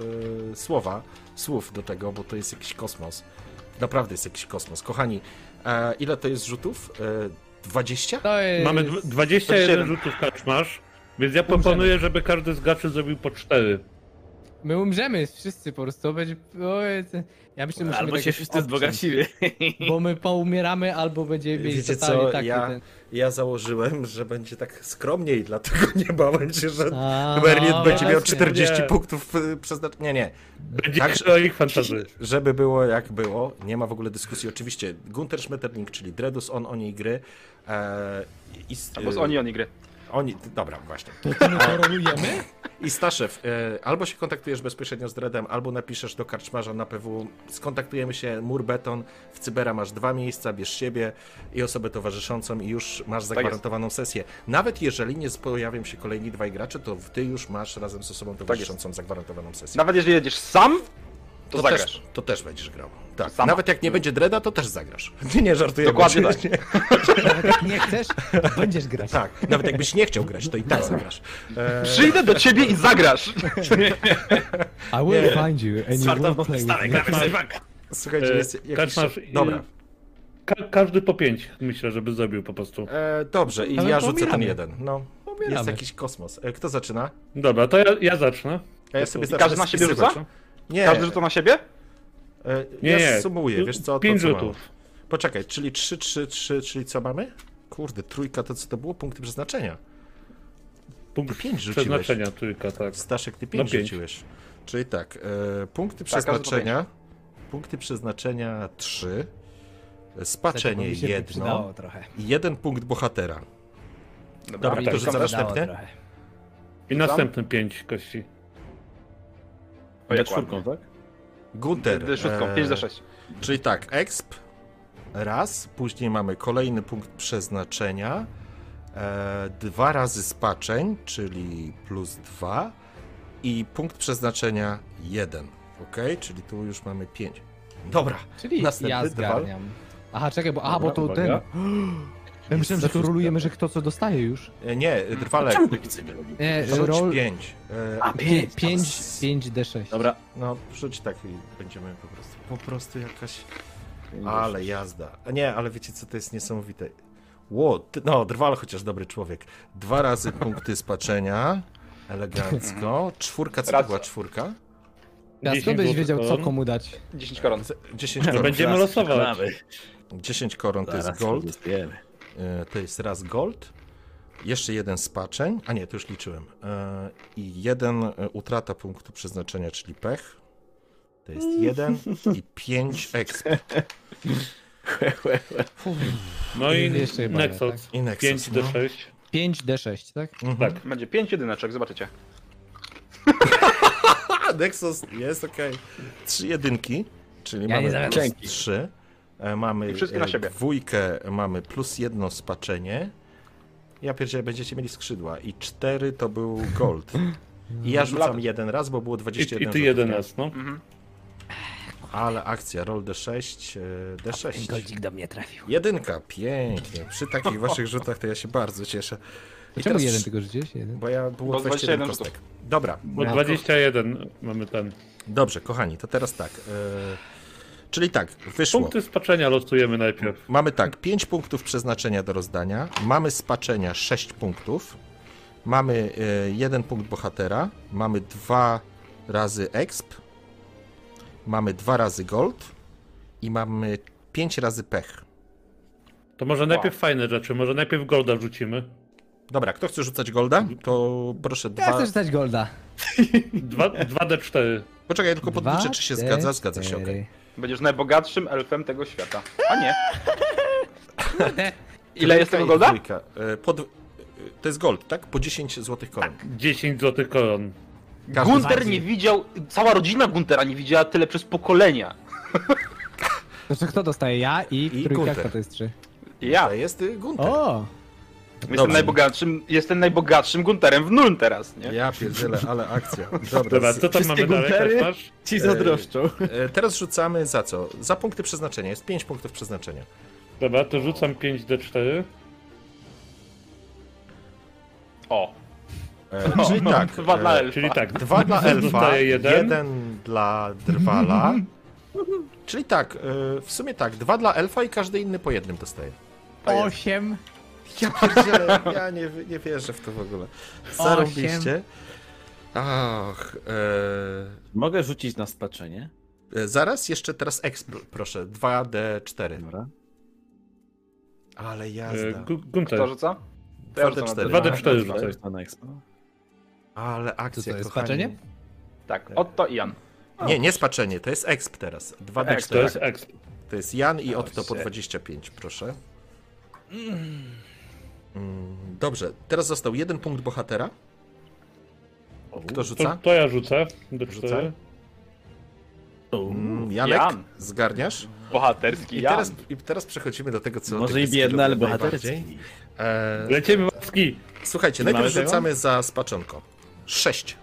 Speaker 1: y, słowa, słów do tego, bo to jest jakiś kosmos. Naprawdę jest jakiś kosmos. Kochani, e, ile to jest rzutów? E, 20?
Speaker 2: To
Speaker 6: Eee,
Speaker 2: jest...
Speaker 5: Mamy dw- 21
Speaker 4: 27.
Speaker 5: rzutów kaczmarz, więc ja proponuję, żeby każdy z graczy zrobił po 4.
Speaker 2: My umrzemy wszyscy po prostu. to Będzie... Oj, to- Ja myślę, musimy
Speaker 3: Albo
Speaker 2: tak
Speaker 3: się
Speaker 2: jakoś
Speaker 3: wszyscy
Speaker 2: odciąć,
Speaker 3: zbogacili.
Speaker 2: Bo my poumieramy, albo będziemy mieć
Speaker 1: Wiecie
Speaker 2: totalnie
Speaker 1: co,
Speaker 2: taki
Speaker 1: ja,
Speaker 2: ten...
Speaker 1: ja założyłem, że będzie tak skromniej, dlatego nie bałem się, że
Speaker 2: A, no
Speaker 1: Berlin będzie miał
Speaker 2: właśnie.
Speaker 1: 40
Speaker 5: Nie.
Speaker 1: punktów y, przeznaczenia. Nie, nie.
Speaker 5: Będzie
Speaker 1: Także-
Speaker 5: o ich fantazji.
Speaker 1: Żeby było jak było, nie ma w ogóle dyskusji. Oczywiście Gunter Schmetterling, czyli Dredus, on, oni gry. E, i, s-
Speaker 4: Albo z
Speaker 1: e,
Speaker 4: oni, oni gry.
Speaker 1: oni. Dobra, właśnie.
Speaker 2: To my porolujemy?
Speaker 1: I Staszew, e, albo się kontaktujesz bezpośrednio z Dredem, albo napiszesz do karczmarza na PW. Skontaktujemy się, mur beton, w Cybera masz dwa miejsca, bierz siebie i osobę towarzyszącą i już masz
Speaker 4: Tak
Speaker 1: zagwarantowaną sesję. Nawet jeżeli nie pojawią się kolejni dwaj gracze, to ty już masz razem z osobą towarzyszącą zagwarantowaną sesję.
Speaker 4: Tak Nawet jeżeli jedziesz sam, to,
Speaker 1: To
Speaker 4: zagrasz.
Speaker 1: też, to też będziesz grał. Tak.
Speaker 4: Sama.
Speaker 1: Nawet jak nie będzie Dreda, to też zagrasz. Nie żartuję.
Speaker 4: Dokładnie
Speaker 1: bo-
Speaker 4: tak.
Speaker 2: Nawet jak No tak, nie chcesz, to będziesz grać.
Speaker 1: Tak, nawet jakbyś nie chciał grać, to i
Speaker 4: No.
Speaker 1: tak zagrasz.
Speaker 4: Przyjdę do ciebie i zagrasz.
Speaker 2: I will find you and you will play with me.
Speaker 1: Słuchajcie, jest
Speaker 5: E,
Speaker 1: jakiś...
Speaker 5: Kaczmarz, i-
Speaker 1: Dobra,
Speaker 5: Ka- każdy po 5 myślę, żeby zrobił po prostu.
Speaker 1: e, dobrze i
Speaker 2: Ale
Speaker 1: ja rzucę ten
Speaker 2: pomijamy.
Speaker 1: jeden. No, jest
Speaker 2: Pomijamy.
Speaker 1: jakiś kosmos. E, Kto zaczyna?
Speaker 5: Dobra, to ja, ja zacznę.
Speaker 1: A ja sobie
Speaker 4: I
Speaker 1: zacznę
Speaker 4: każdy na siebie
Speaker 1: spisywać.
Speaker 4: rzuca?
Speaker 1: Nie,
Speaker 4: Każdy rzuca na siebie?
Speaker 1: e,
Speaker 5: Nie,
Speaker 1: ja
Speaker 5: nie.
Speaker 1: sumuję, wiesz co? to,
Speaker 5: 5
Speaker 1: co mam.
Speaker 5: rzutów.
Speaker 1: Poczekaj, czyli 3, 3, 3, czyli co mamy? Kurde, trójka to co to było? Punkty przeznaczenia.
Speaker 5: Punkt
Speaker 1: Pięć rzuciłeś.
Speaker 5: przeznaczenia trójka, tak.
Speaker 1: Staszek, ty
Speaker 5: No
Speaker 1: 5
Speaker 5: pięć.
Speaker 1: rzuciłeś. Czyli tak, e, punkty
Speaker 4: każdy po
Speaker 1: przeznaczenia... Punkty przeznaczenia 3. Spaczenie
Speaker 2: Mi się tak
Speaker 1: jedno.
Speaker 2: przydało trochę.
Speaker 1: I jeden punkt bohatera.
Speaker 4: Dobra,
Speaker 1: Dobra,
Speaker 5: tak.
Speaker 1: to rzucam
Speaker 2: Przydało
Speaker 1: następny.
Speaker 2: trochę.
Speaker 5: I następne 5 kości.
Speaker 4: O, jak
Speaker 3: Czwórką, tak?
Speaker 1: Gunter.
Speaker 4: ładnie. Szóstką,
Speaker 1: e,
Speaker 4: 5 do 6.
Speaker 1: Czyli tak, exp raz, później mamy kolejny punkt przeznaczenia, e, dwa razy spaczeń, czyli plus dwa i punkt przeznaczenia jeden, ok? Czyli tu już mamy pięć. Dobra,
Speaker 2: Czyli
Speaker 1: następny
Speaker 2: ja
Speaker 1: drwal.
Speaker 2: zgarniam. Aha, czekaj, bo,
Speaker 1: No
Speaker 2: aha, bo to
Speaker 5: Dobra,
Speaker 2: ten.
Speaker 5: uwaga.
Speaker 2: Ja myślałem, że to rolujemy, że kto co dostaje już.
Speaker 1: E, Nie, drwalek,
Speaker 2: tak Nie,
Speaker 1: rzuć
Speaker 2: roll
Speaker 1: pięć. E,
Speaker 3: A,
Speaker 2: Pię-
Speaker 3: pięć.
Speaker 2: pięć, 5d6.
Speaker 3: Dobra.
Speaker 1: No, rzuć tak i będziemy po prostu, po prostu jakaś... Ale jazda. A nie, ale wiecie co, to jest niesamowite. Ło, ty, no, drwal chociaż dobry człowiek. Dwa razy punkty spaczenia. Elegancko. Czwórka, co to
Speaker 4: Raz.
Speaker 1: była czwórka?
Speaker 2: Ja skąd
Speaker 5: Dziesięć
Speaker 2: byś
Speaker 5: złotych
Speaker 2: wiedział, co
Speaker 5: koron.
Speaker 2: komu dać?
Speaker 4: 10 koron.
Speaker 1: Z- 10 koron.
Speaker 5: Będziemy
Speaker 1: raz.
Speaker 5: losować.
Speaker 1: Dziesięć koron to jest
Speaker 3: Zaraz
Speaker 1: gold.
Speaker 3: rozdajemy.
Speaker 1: E, To jest raz gold. Jeszcze jeden spaczeń. A nie, to już liczyłem. E, I jeden e, utrata punktu przeznaczenia, czyli pech. To jest jeden i pięć exp.
Speaker 5: No i
Speaker 2: Jeszcze chyba nie, tak?
Speaker 5: Nexus.
Speaker 1: I Nexus,
Speaker 5: 5 do
Speaker 1: no.
Speaker 5: 6.
Speaker 2: 5d6, tak?
Speaker 1: Mhm.
Speaker 4: Będzie 5 jedyneczek, zobaczycie.
Speaker 1: A, Nexus jest okej. Trzy jedynki, czyli
Speaker 2: Ja nie
Speaker 1: mamy
Speaker 2: zaraz.
Speaker 1: plus trzy. E, Mamy
Speaker 4: I wszystkie na
Speaker 1: e,
Speaker 4: siebie.
Speaker 1: dwójkę, mamy plus jedno spaczenie. Ja pierdzielę, będziecie mieli skrzydła. I cztery to był gold. I ja rzucam jeden Mhm. raz, bo było
Speaker 5: I,
Speaker 1: 21
Speaker 5: I ty
Speaker 1: rzutów,
Speaker 5: no.
Speaker 1: nie?
Speaker 5: 11, no.
Speaker 1: Ale akcja, roll D6, e, D6.
Speaker 7: Goldzik do mnie trafił.
Speaker 1: Jedynka, pięknie. Przy takich waszych rzutach to ja się bardzo cieszę. I
Speaker 2: Czemu
Speaker 1: teraz-
Speaker 2: jeden tylko rzuciłeś? Jeden?
Speaker 1: Bo ja było
Speaker 9: Bo
Speaker 1: 21
Speaker 9: 21
Speaker 1: kostek. Dobra,
Speaker 5: Bo 21 mamy ten.
Speaker 1: dobrze, kochani, to teraz tak. e, Czyli tak, wyszło.
Speaker 5: Punkty spaczenia losujemy najpierw.
Speaker 1: Mamy tak, 5 punktów przeznaczenia do rozdania, mamy spaczenia 6 punktów, mamy 1 punkt bohatera, mamy 2 razy exp, mamy 2 razy gold i mamy 5 razy pech.
Speaker 5: To może najpierw fajne rzeczy, może najpierw golda rzucimy.
Speaker 1: Dobra, kto chce rzucać golda, to proszę
Speaker 2: Ja
Speaker 1: dwa.
Speaker 2: chcę rzucać golda.
Speaker 5: Dwa- 2D4.
Speaker 1: Poczekaj, ja tylko
Speaker 2: Dwa,
Speaker 1: podliczę, czy się
Speaker 2: cztery.
Speaker 1: zgadza. Zgadza się, okej.
Speaker 9: Będziesz najbogatszym elfem tego świata. A nie.
Speaker 2: Kurde.
Speaker 9: Ile jest tego
Speaker 1: Trójka i
Speaker 9: golda?
Speaker 1: dwójka. E, Pod... e, To jest gold, tak? Po 10 złotych koron.
Speaker 9: Tak,
Speaker 5: 10 złotych koron.
Speaker 1: Każdy
Speaker 9: Gunter
Speaker 1: z-
Speaker 9: nie widział, cała rodzina Guntera nie widziała tyle przez pokolenia.
Speaker 2: Znaczy kto dostaje? Ja i,
Speaker 1: I
Speaker 2: trójka,
Speaker 1: Gunter.
Speaker 2: kto to jest trzy?
Speaker 9: I Ja
Speaker 1: To jest y, Gunter.
Speaker 2: O!
Speaker 9: jestem najbogatszym, jestem najbogatszym Gunterem w nul teraz, nie?
Speaker 1: Ja pierdzielę, ale akcja.
Speaker 5: Dobra,
Speaker 1: Dobra,
Speaker 5: co tam mamy dalej? Też masz?
Speaker 6: Ci zazdroszczą.
Speaker 1: E, Teraz rzucamy za co? Za punkty przeznaczenia. Jest 5 punktów przeznaczenia.
Speaker 5: Dobra, to rzucam 5D4.
Speaker 9: O,
Speaker 1: E, czyli tak.
Speaker 9: dwa dla
Speaker 1: e,
Speaker 9: elfa.
Speaker 5: Czyli tak,
Speaker 1: Dwa dla elfa,
Speaker 5: Dostaję
Speaker 1: jeden.
Speaker 5: jeden.
Speaker 1: dla drwala. Czyli tak, e, w sumie tak, dwa dla elfa i każdy inny po jednym dostaje.
Speaker 2: Osiem.
Speaker 1: Ja pierdzielę, ja nie, nie wierzę w to w ogóle. Zarobiście. Ach, e,
Speaker 6: Mogę rzucić na spaczenie?
Speaker 1: e, zaraz jeszcze teraz exp, proszę, 2d4.
Speaker 6: Dobra.
Speaker 1: Ale
Speaker 5: E,
Speaker 1: jazda.
Speaker 5: Gu- Gunter,
Speaker 9: kto rzuca? To ja rzucam na
Speaker 1: 2d4.
Speaker 9: dwa.
Speaker 5: 2D4 rzucaj.
Speaker 6: Rzucaj na expo.
Speaker 1: Ale
Speaker 2: Co
Speaker 1: akcja,
Speaker 2: to jest?
Speaker 1: kochani.
Speaker 2: Patrzenie?
Speaker 9: Tak, Otto i Jan.
Speaker 1: Nie, nie spaczenie, to jest exp teraz. 2d4.
Speaker 9: Exp,
Speaker 5: To jest exp.
Speaker 1: To jest Jan i Otto po 25, proszę. Mm, Dobrze, teraz został jeden punkt bohatera. Kto
Speaker 5: To,
Speaker 1: rzuca?
Speaker 5: to ja rzucę. D4.
Speaker 1: Rzucaj. Mm, Janek,
Speaker 9: Jan.
Speaker 1: zgarniasz?
Speaker 9: Bohaterski
Speaker 1: I
Speaker 9: Jan.
Speaker 1: teraz, I teraz przechodzimy do tego, co...
Speaker 6: Może
Speaker 1: ty
Speaker 6: i biedny, ale
Speaker 1: lubisz
Speaker 6: bohaterski.
Speaker 1: najbardziej. E,
Speaker 5: Lecimy łapski.
Speaker 1: słuchajcie,
Speaker 6: Mamy
Speaker 1: najpierw
Speaker 6: tego?
Speaker 1: rzucamy za spaczonko. 6.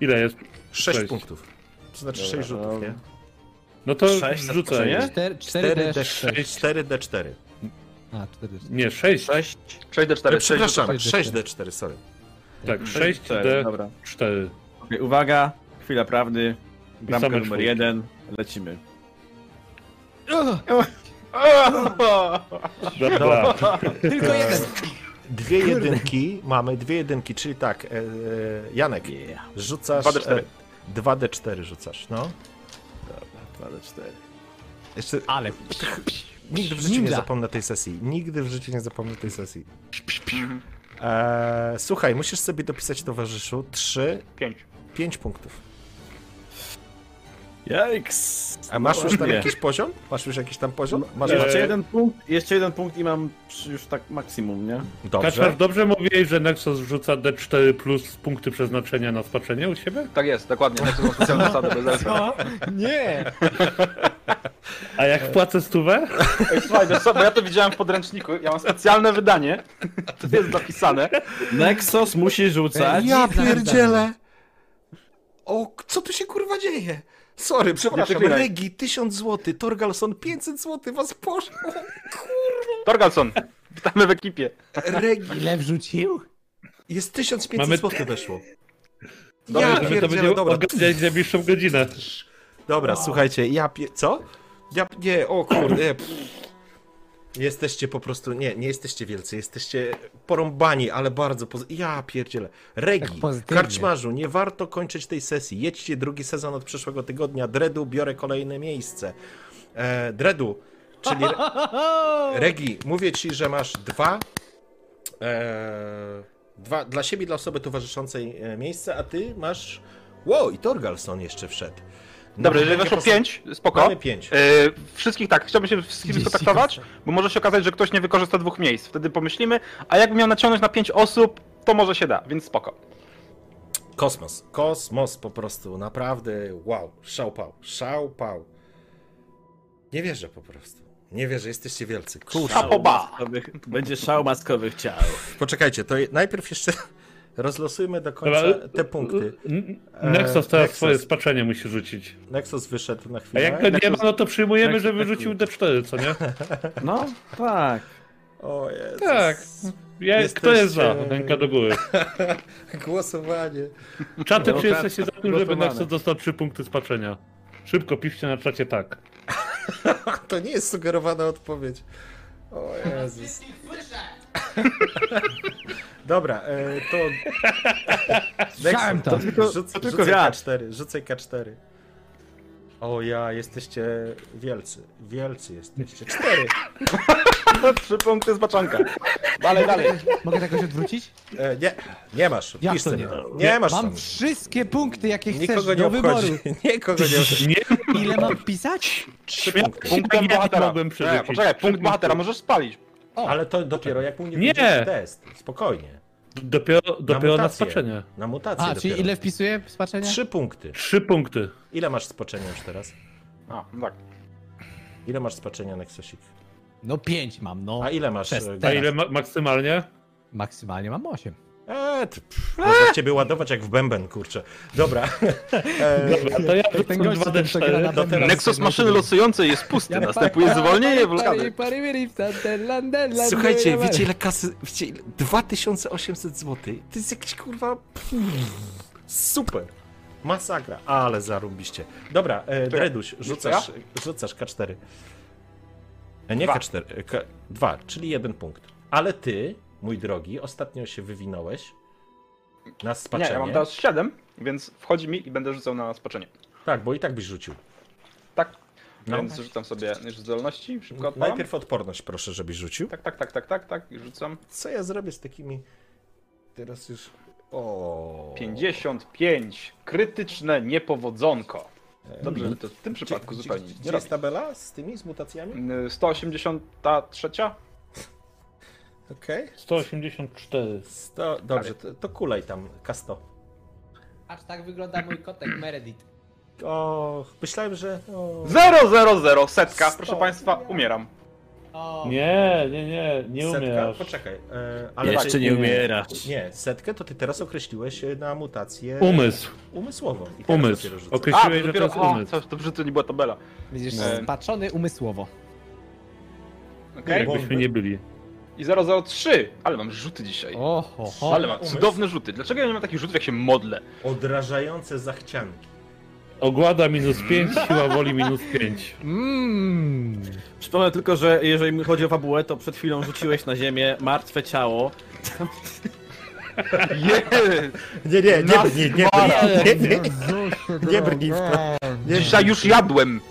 Speaker 5: Ile jest?
Speaker 1: 6
Speaker 5: Sześć.
Speaker 1: punktów. To znaczy 6 rzutów, nie?
Speaker 5: No to
Speaker 6: Sześć na
Speaker 5: rzucę.
Speaker 6: spaczenie?
Speaker 5: Nie?
Speaker 2: 4, 4 d
Speaker 1: 4D6. 4D4.
Speaker 2: A, 4 d
Speaker 5: Nie, 6.
Speaker 6: 6.
Speaker 9: 6 do 4, 6
Speaker 1: Przepraszam,
Speaker 2: 6D4.
Speaker 1: 6D4, sorry.
Speaker 5: Tak,
Speaker 6: Cztery, dobra.
Speaker 5: 6D4.
Speaker 6: Okej, uwaga, chwila prawdy. Bramka
Speaker 5: Pisamy
Speaker 6: numer
Speaker 5: czwórki.
Speaker 6: jeden. Lecimy.
Speaker 5: Dobra.
Speaker 2: Tylko jeden.
Speaker 1: Dwie jedynki, mamy dwie jedynki, czyli tak, e, e, Janek, rzucasz... e,
Speaker 9: 2D4.
Speaker 1: 2D4 rzucasz, no.
Speaker 6: 2 do 4.
Speaker 1: Jeszcze
Speaker 2: Ale.
Speaker 1: nigdy w życiu nie
Speaker 2: ninja.
Speaker 1: zapomnę tej sesji. Nigdy w życiu nie zapomnę tej sesji. E, słuchaj, musisz sobie dopisać towarzyszu 3,
Speaker 9: 5.
Speaker 1: 5 punktów.
Speaker 6: Jajks!
Speaker 1: A masz już tam
Speaker 6: Nie.
Speaker 1: jakiś poziom? Masz już jakiś tam poziom? Masz
Speaker 5: Eee,
Speaker 6: Jeszcze jeden punkt, jeszcze jeden punkt i mam przy- już tak maksimum, nie?
Speaker 5: Kaczmar,
Speaker 1: Dobrze.
Speaker 5: dobrze mówiłeś, że Nexus rzuca D4 plus punkty przeznaczenia na spaczenie u siebie?
Speaker 9: Tak jest, dokładnie. Tak, to są specjalne zasady bez elfa.
Speaker 2: Nie!
Speaker 5: A jak płacę stówę?
Speaker 9: Ej, Słuchaj, wiesz co, bo ja to widziałem w podręczniku, ja mam specjalne wydanie, to jest zapisane.
Speaker 6: Nexus musi rzucać.
Speaker 1: Ja pierdzielę! O, co tu się kurwa dzieje? Sorry, przepraszam,
Speaker 9: przeklinaj.
Speaker 1: Regi 1000 zł, Torgalson 500 zł, was poszło!
Speaker 9: Torgalson, witamy w ekipie.
Speaker 1: Regi,
Speaker 2: Ile wrzucił?
Speaker 1: jest 1500
Speaker 5: Mamy-
Speaker 1: zł weszło.
Speaker 5: Dobra,
Speaker 1: ja
Speaker 5: żeby to
Speaker 1: pierdzielę,
Speaker 5: będzie
Speaker 1: dobra.
Speaker 5: ogarniać najbliższą godzinę.
Speaker 1: Dobra, słuchajcie, ja pie... Co? Ja... Nie, o kurde. pff. Jesteście po prostu... Nie, nie jesteście wielcy, jesteście porąbani, ale bardzo... Poz... Ja pierdzielę. Regi,
Speaker 2: Tak pozytywnie.
Speaker 1: karczmarzu, nie warto kończyć tej sesji. Jedźcie drugi sezon od przyszłego tygodnia. Dredu, biorę kolejne miejsce. E, Dredu, czyli... Re... Regi, mówię ci, że masz dwa... E... Dwa, dla siebie, i dla osoby towarzyszącej e, miejsce, a ty masz... Wow, i Torgalson jeszcze wszedł.
Speaker 9: Dobrze, jeżeli
Speaker 1: Regi,
Speaker 9: weszło
Speaker 1: pos-
Speaker 9: 5, spoko.
Speaker 1: Mamy pięć.
Speaker 9: E, wszystkich tak, chciałbym się z wszystkimi skontaktować, bo może się okazać, że ktoś nie wykorzysta dwóch miejsc, wtedy pomyślimy, a jakby miał naciągnąć na 5 osób, to może się da, więc spoko.
Speaker 1: Kosmos. Kosmos po prostu, naprawdę wow. Szałpał, szałpał. Nie wierzę po prostu. Nie wierzę, jesteście wielcy. Kurczę.
Speaker 9: Oba!
Speaker 6: Będzie szał maskowych ciał.
Speaker 1: Poczekajcie, to je- najpierw jeszcze Rozlosujmy do
Speaker 5: Dobra,
Speaker 1: końca te punkty.
Speaker 5: N-
Speaker 1: E,
Speaker 5: Nexus teraz
Speaker 1: Nexus.
Speaker 5: swoje spaczenie musi rzucić.
Speaker 1: Nexus wyszedł na
Speaker 5: A
Speaker 1: chwilę.
Speaker 5: jak go nie ma, no to przyjmujemy,
Speaker 4: Nexus
Speaker 5: że
Speaker 4: tak
Speaker 5: wyrzucił D4, co nie?
Speaker 10: No, tak.
Speaker 1: O Jezus.
Speaker 5: Tak. Ja, Kto jest za?
Speaker 1: Jesteście-
Speaker 5: Ręka do góry.
Speaker 1: Głosowanie.
Speaker 5: Czaty,
Speaker 10: No,
Speaker 5: czy
Speaker 10: tak,
Speaker 5: jesteście za tym, żeby
Speaker 10: głosowane.
Speaker 5: Nexus dostał 3 punkty spaczenia? Szybko piszcie na czacie tak.
Speaker 1: To nie jest sugerowana odpowiedź. O Jezus. Dobra, e, to...
Speaker 2: Słyszałem to.
Speaker 1: Nexus, Rzuc,
Speaker 10: to tylko
Speaker 1: rzucaj
Speaker 10: wiatr.
Speaker 1: K4, rzucaj K4. O ja, jesteście wielcy. Wielcy jesteście. Cztery.
Speaker 4: Trzy punkty z baczanka. Dalej, dalej.
Speaker 2: Mogę tak jakoś odwrócić?
Speaker 1: E, nie, nie masz.
Speaker 2: Jak
Speaker 1: Pisz
Speaker 2: to
Speaker 1: sobie.
Speaker 2: nie?
Speaker 1: nie masz
Speaker 2: Mam
Speaker 1: tam.
Speaker 2: wszystkie punkty, jakie chcesz
Speaker 1: Nikogo nie
Speaker 2: do wyboru.
Speaker 1: obchodzi. Nikogo nie obchodzi.
Speaker 2: Ile mam wpisać?
Speaker 4: Trzy
Speaker 5: punkty.
Speaker 4: Punktem
Speaker 5: Nie
Speaker 4: bohatera.
Speaker 5: mogłem przerzucić.
Speaker 4: Nie, poczekaj, punkt bohatera, możesz spalić.
Speaker 1: Ale to dopiero jak mu nie,
Speaker 5: Nie.
Speaker 1: nie. test. Spokojnie.
Speaker 5: D- Dopiero, dopiero na
Speaker 1: mutację.
Speaker 5: spaczenie.
Speaker 1: Na mutację
Speaker 2: A,
Speaker 1: dopiero.
Speaker 2: czyli ile wpisuję spaczenia?
Speaker 1: Trzy punkty.
Speaker 5: 3 punkty.
Speaker 1: Ile masz spaczenia już teraz?
Speaker 4: A, no tak.
Speaker 1: Ile masz spaczenia, Nexosik?
Speaker 2: No pięć mam, no.
Speaker 1: A ile masz?
Speaker 2: Przez
Speaker 1: e,
Speaker 5: A
Speaker 2: teraz.
Speaker 5: ile ma- maksymalnie?
Speaker 2: Maksymalnie mam osiem.
Speaker 1: E, t- pff, można ciebie ładować jak w bęben, kurczę. Dobra. E,
Speaker 5: Dobra, to ja rzucę
Speaker 2: Ten gość, co tam to gra na
Speaker 5: 2D4. to
Speaker 2: bębnie.
Speaker 5: teraz-
Speaker 4: Nexus maszyny losującej jest pusty, następuje zwolnienie blokady.
Speaker 1: Słuchajcie, wiecie ile kasy... Wiecie ile? 2800 zł. To jest jakiś kurwa... pff, Super. Masakra. Ale zarubiście. Dobra, e, Dreduś, rzucasz, rzucasz K4. E, nie
Speaker 4: Dwa.
Speaker 1: K4, e, K... Dwa, czyli jeden punkt. Ale ty, mój drogi, ostatnio się wywinąłeś na
Speaker 4: Nie,
Speaker 1: spaczenie.
Speaker 4: ja mam teraz 7, więc wchodzi mi i będę rzucał na spaczenie.
Speaker 1: Tak, bo i tak byś rzucił.
Speaker 4: Tak.
Speaker 1: No.
Speaker 4: Więc rzucam sobie już z zdolności, szybko odpalam.
Speaker 1: Najpierw odporność proszę, żebyś rzucił.
Speaker 4: Tak, tak, tak, tak, tak, tak, i rzucam.
Speaker 1: Co ja zrobię z takimi. Teraz już. O.
Speaker 4: 55. Krytyczne niepowodzonko. Dobrze, że to w tym przypadku
Speaker 1: gdzie,
Speaker 4: zupełnie
Speaker 1: gdzie,
Speaker 4: nic
Speaker 1: gdzie
Speaker 4: nie
Speaker 1: jest
Speaker 4: robi.
Speaker 1: tabela z tymi, z mutacjami?
Speaker 4: Y, 183?
Speaker 1: Okej.
Speaker 5: 184.
Speaker 1: Sto- Dobrze, to, to kulej tam, kasto.
Speaker 2: Aż tak wygląda mój kotek Meredith.
Speaker 1: O, myślałem, że. O,
Speaker 4: 000 setka,
Speaker 1: Sto.
Speaker 4: proszę państwa, umieram.
Speaker 2: O,
Speaker 5: Nie, nie, nie, nie
Speaker 1: setka.
Speaker 5: umierasz.
Speaker 1: Poczekaj. E, ale
Speaker 6: Jeszcze
Speaker 1: tak,
Speaker 6: nie umierasz.
Speaker 1: Nie, setkę to ty teraz określiłeś e, na mutację.
Speaker 5: Umysł,
Speaker 1: Umysłową. I teraz
Speaker 5: umysł.
Speaker 1: dopiero rzucę.
Speaker 4: A,
Speaker 5: Określiłeś,
Speaker 4: to
Speaker 5: że to
Speaker 4: dopiero,
Speaker 5: jest
Speaker 4: o,
Speaker 5: umysł.
Speaker 4: co, dobrze, że to nie była tabela.
Speaker 2: Będziesz
Speaker 4: Nie.
Speaker 2: spaczony umysłowo.
Speaker 4: Okej.
Speaker 5: Jakbyśmy nie byli.
Speaker 4: I 003, ale mam rzuty dzisiaj.
Speaker 2: Oho, ho.
Speaker 4: Ale mam
Speaker 1: umysł.
Speaker 4: cudowne rzuty. Dlaczego ja nie mam takich rzutów, jak się modlę?
Speaker 1: Odrażające zachcianki.
Speaker 5: Ogłada minus 5, siła woli minus 5.
Speaker 2: Mmm.
Speaker 6: Przypomnę tylko, że jeżeli chodzi o fabułę, to przed chwilą rzuciłeś na ziemię martwe ciało.
Speaker 4: Yes!
Speaker 1: Nie, nie, nie, nie, nie, nie, nie, nie, nie, nie, nie, nie, nie, nie, nie,
Speaker 4: Dzisiaj już jadłem.